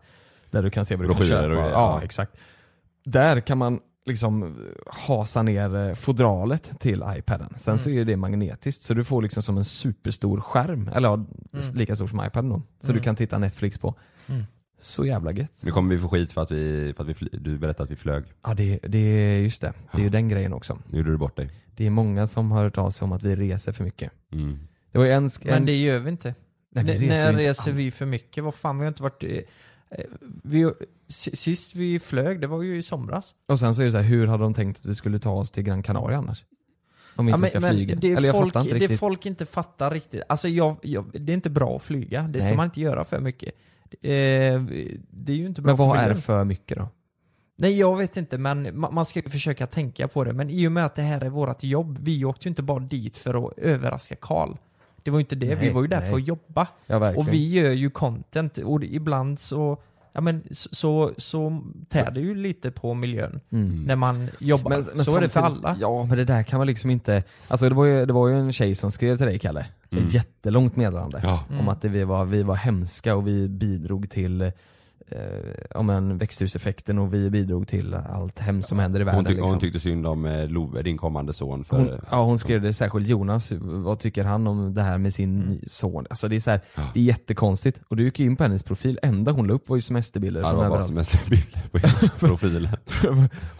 där du kan se vad du kan Mm. Broschyrer köpa. och Ja, grejer. Ja. exakt. Där kan man liksom eh, hasa ner eh, fodralet till iPaden. Sen Mm. så är ju det magnetiskt så du får liksom som en superstor skärm, eller ja, Mm. lika stor som iPaden då. Så Mm. du kan titta Netflix på. Mm. Så jävla gött. Nu kommer vi få skit för att, vi, för att vi fly, du berättade att vi flög. Ja det, det är just det. Det är ju den grejen också. Nu gjorde du bort dig. Det är många som har hört av sig om att vi reser för mycket. Mm. Det var ju en, Men det gör vi inte. Nej, vi N- reser ju när inte reser vi för mycket? Vad fan, vi har inte varit... eh, eh, Vi, s- sist vi flög, det var ju i somras. Och sen så är det så här, hur hade de tänkt att vi skulle ta oss till Gran Canaria annars? Om vi inte Ja, men- ska men flyga. Det, Eller jag folk, fattar inte det riktigt. folk inte fattar riktigt, alltså jag, jag, det är inte bra att flyga. Det ska Nej. man inte göra för mycket. Eh, det är ju inte bra Men vad för är miljön. för mycket då? Nej jag vet inte men ma- man ska ju försöka tänka på det. Men i och med att det här är vårt jobb, vi åkte ju inte bara dit för att överraska Karl. Det var ju inte det, vi Nej, var ju där nej. för att jobba. Ja, verkligen. och vi gör ju content och det- ibland så, ja men så, så, så tär det ju lite på miljön Mm. när man jobbar. så är det för samtidigt- alla. Ja, men det där kan man liksom inte... Alltså det var ju, det var ju en tjej som skrev till dig Kalle, Mm. ett jättelångt meddelande. Ja. Om att det, vi, var, vi var hemska och vi bidrog till eh, om en växthuseffekten och vi bidrog till allt hemskt som händer i världen. Hon, tyck, liksom. hon tyckte synd om eh, Love, din kommande son. För, Hon, ja, hon skrev det särskilt Jonas, vad tycker han om det här med sin Mm. son? Alltså det är, så här, det är jättekonstigt. Och du gick ju in på hennes profil, enda hon la upp var ju semesterbilder Ja, det från var bara överallt. semesterbilder [laughs] på hennes profil.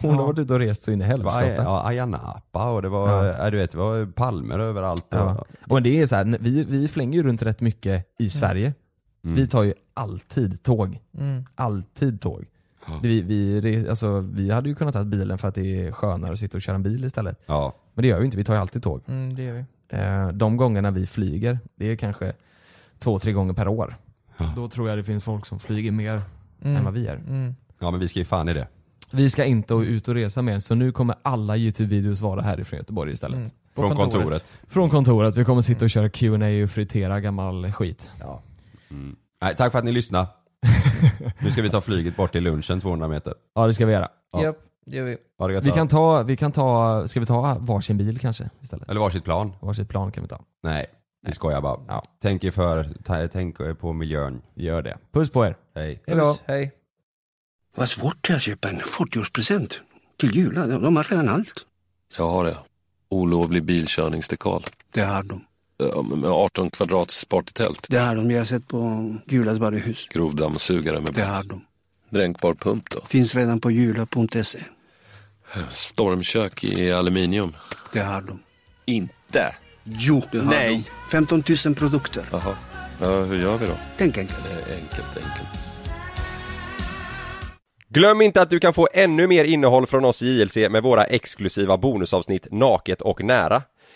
Hon har varit ute och rest så in i Det var helskotta. Aj- ja, Ayia Napa och det var, eh, ja. du vet, det var palmer överallt. Och, Mm. Ja. Och det är så här, vi, vi flänger ju runt rätt mycket i Sverige. Mm. Vi tar ju alltid tåg. Mm. Alltid tåg. Vi, vi, re- alltså, vi hade ju kunnat ta bilen för att det är skönare att sitta och köra en bil istället. Men det gör vi inte, vi tar ju alltid tåg. Mm, det gör vi. Eh, De gångerna vi flyger, det är kanske två, tre gånger per år. Då tror jag det finns folk som flyger mer Mm. än vad vi gör. Mm. Ja men vi ska ju fan i det. Vi ska inte ut och resa mer, så nu kommer alla YouTube-videos vara härifrån Göteborg istället. Mm. Från Från kontoret. kontoret. Från kontoret. Vi kommer sitta och köra Q&A och fritera gammal skit. Mm. Nej, tack för att ni [laughs] lyssnade. nu ska vi ta flyget bort till lunchen 200 meter. Ja, det ska vi göra. Japp, det gör vi. Ha det gött Vi då. kan, ta, vi kan ta, ska vi ta varsin bil kanske istället? Eller varsitt plan. Varsitt plan kan vi ta. Nej, vi skojar bara. Tänk er för, ta- tänk er på miljön. Gör det. Puss på er. Hej. Hejdå. Hej. Vad svårt det är att köpa en 40-årspresent. Till jul, de de har redan allt. Jag har det. Olovlig bilkörningsdekal. Det har de. Ja, men Med 18 kvadrats partytält. Det har de. Jag har sett på Julas varuhus. Grovdammsugare med Det har de. dränkbar pump då. Finns redan på jula.se. Stormkök i aluminium. Det har de. Inte? Jo, det har Nej. de. 15 000 produkter. Jaha. Ja, hur gör vi då? Tänk enkelt. Enkelt, enkelt. Glöm inte att du kan få ännu mer innehåll från oss i JLC med våra exklusiva bonusavsnitt Naket och nära.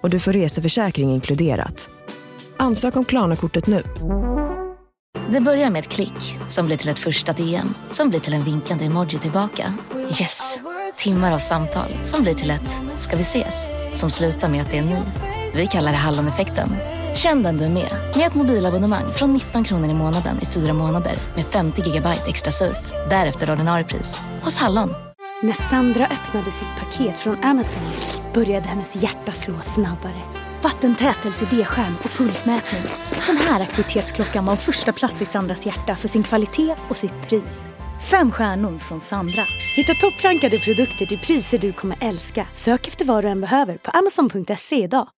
och du får reseförsäkring inkluderat. Ansök om Klarna-kortet nu. Det börjar med ett klick som blir till ett första DM som blir till en vinkande emoji tillbaka. Yes! Timmar av samtal som blir till ett “ska vi ses?” som slutar med att det är ni. Vi kallar det Halloneffekten. Känn den du är med, med ett mobilabonnemang från 19 kronor i månaden i fyra månader med 50 gigabyte extra surf. Därefter ordinarie pris, hos Hallon. När Sandra öppnade sitt paket från Amazon började hennes hjärta slå snabbare. Vattentätelse, D-skärm och pulsmätning. Den här aktivitetsklockan var första plats i Sandras hjärta för sin kvalitet och sitt pris. Fem stjärnor från Sandra. Hitta topprankade produkter till priser du kommer älska. Sök efter vad du än behöver på amazon.se idag.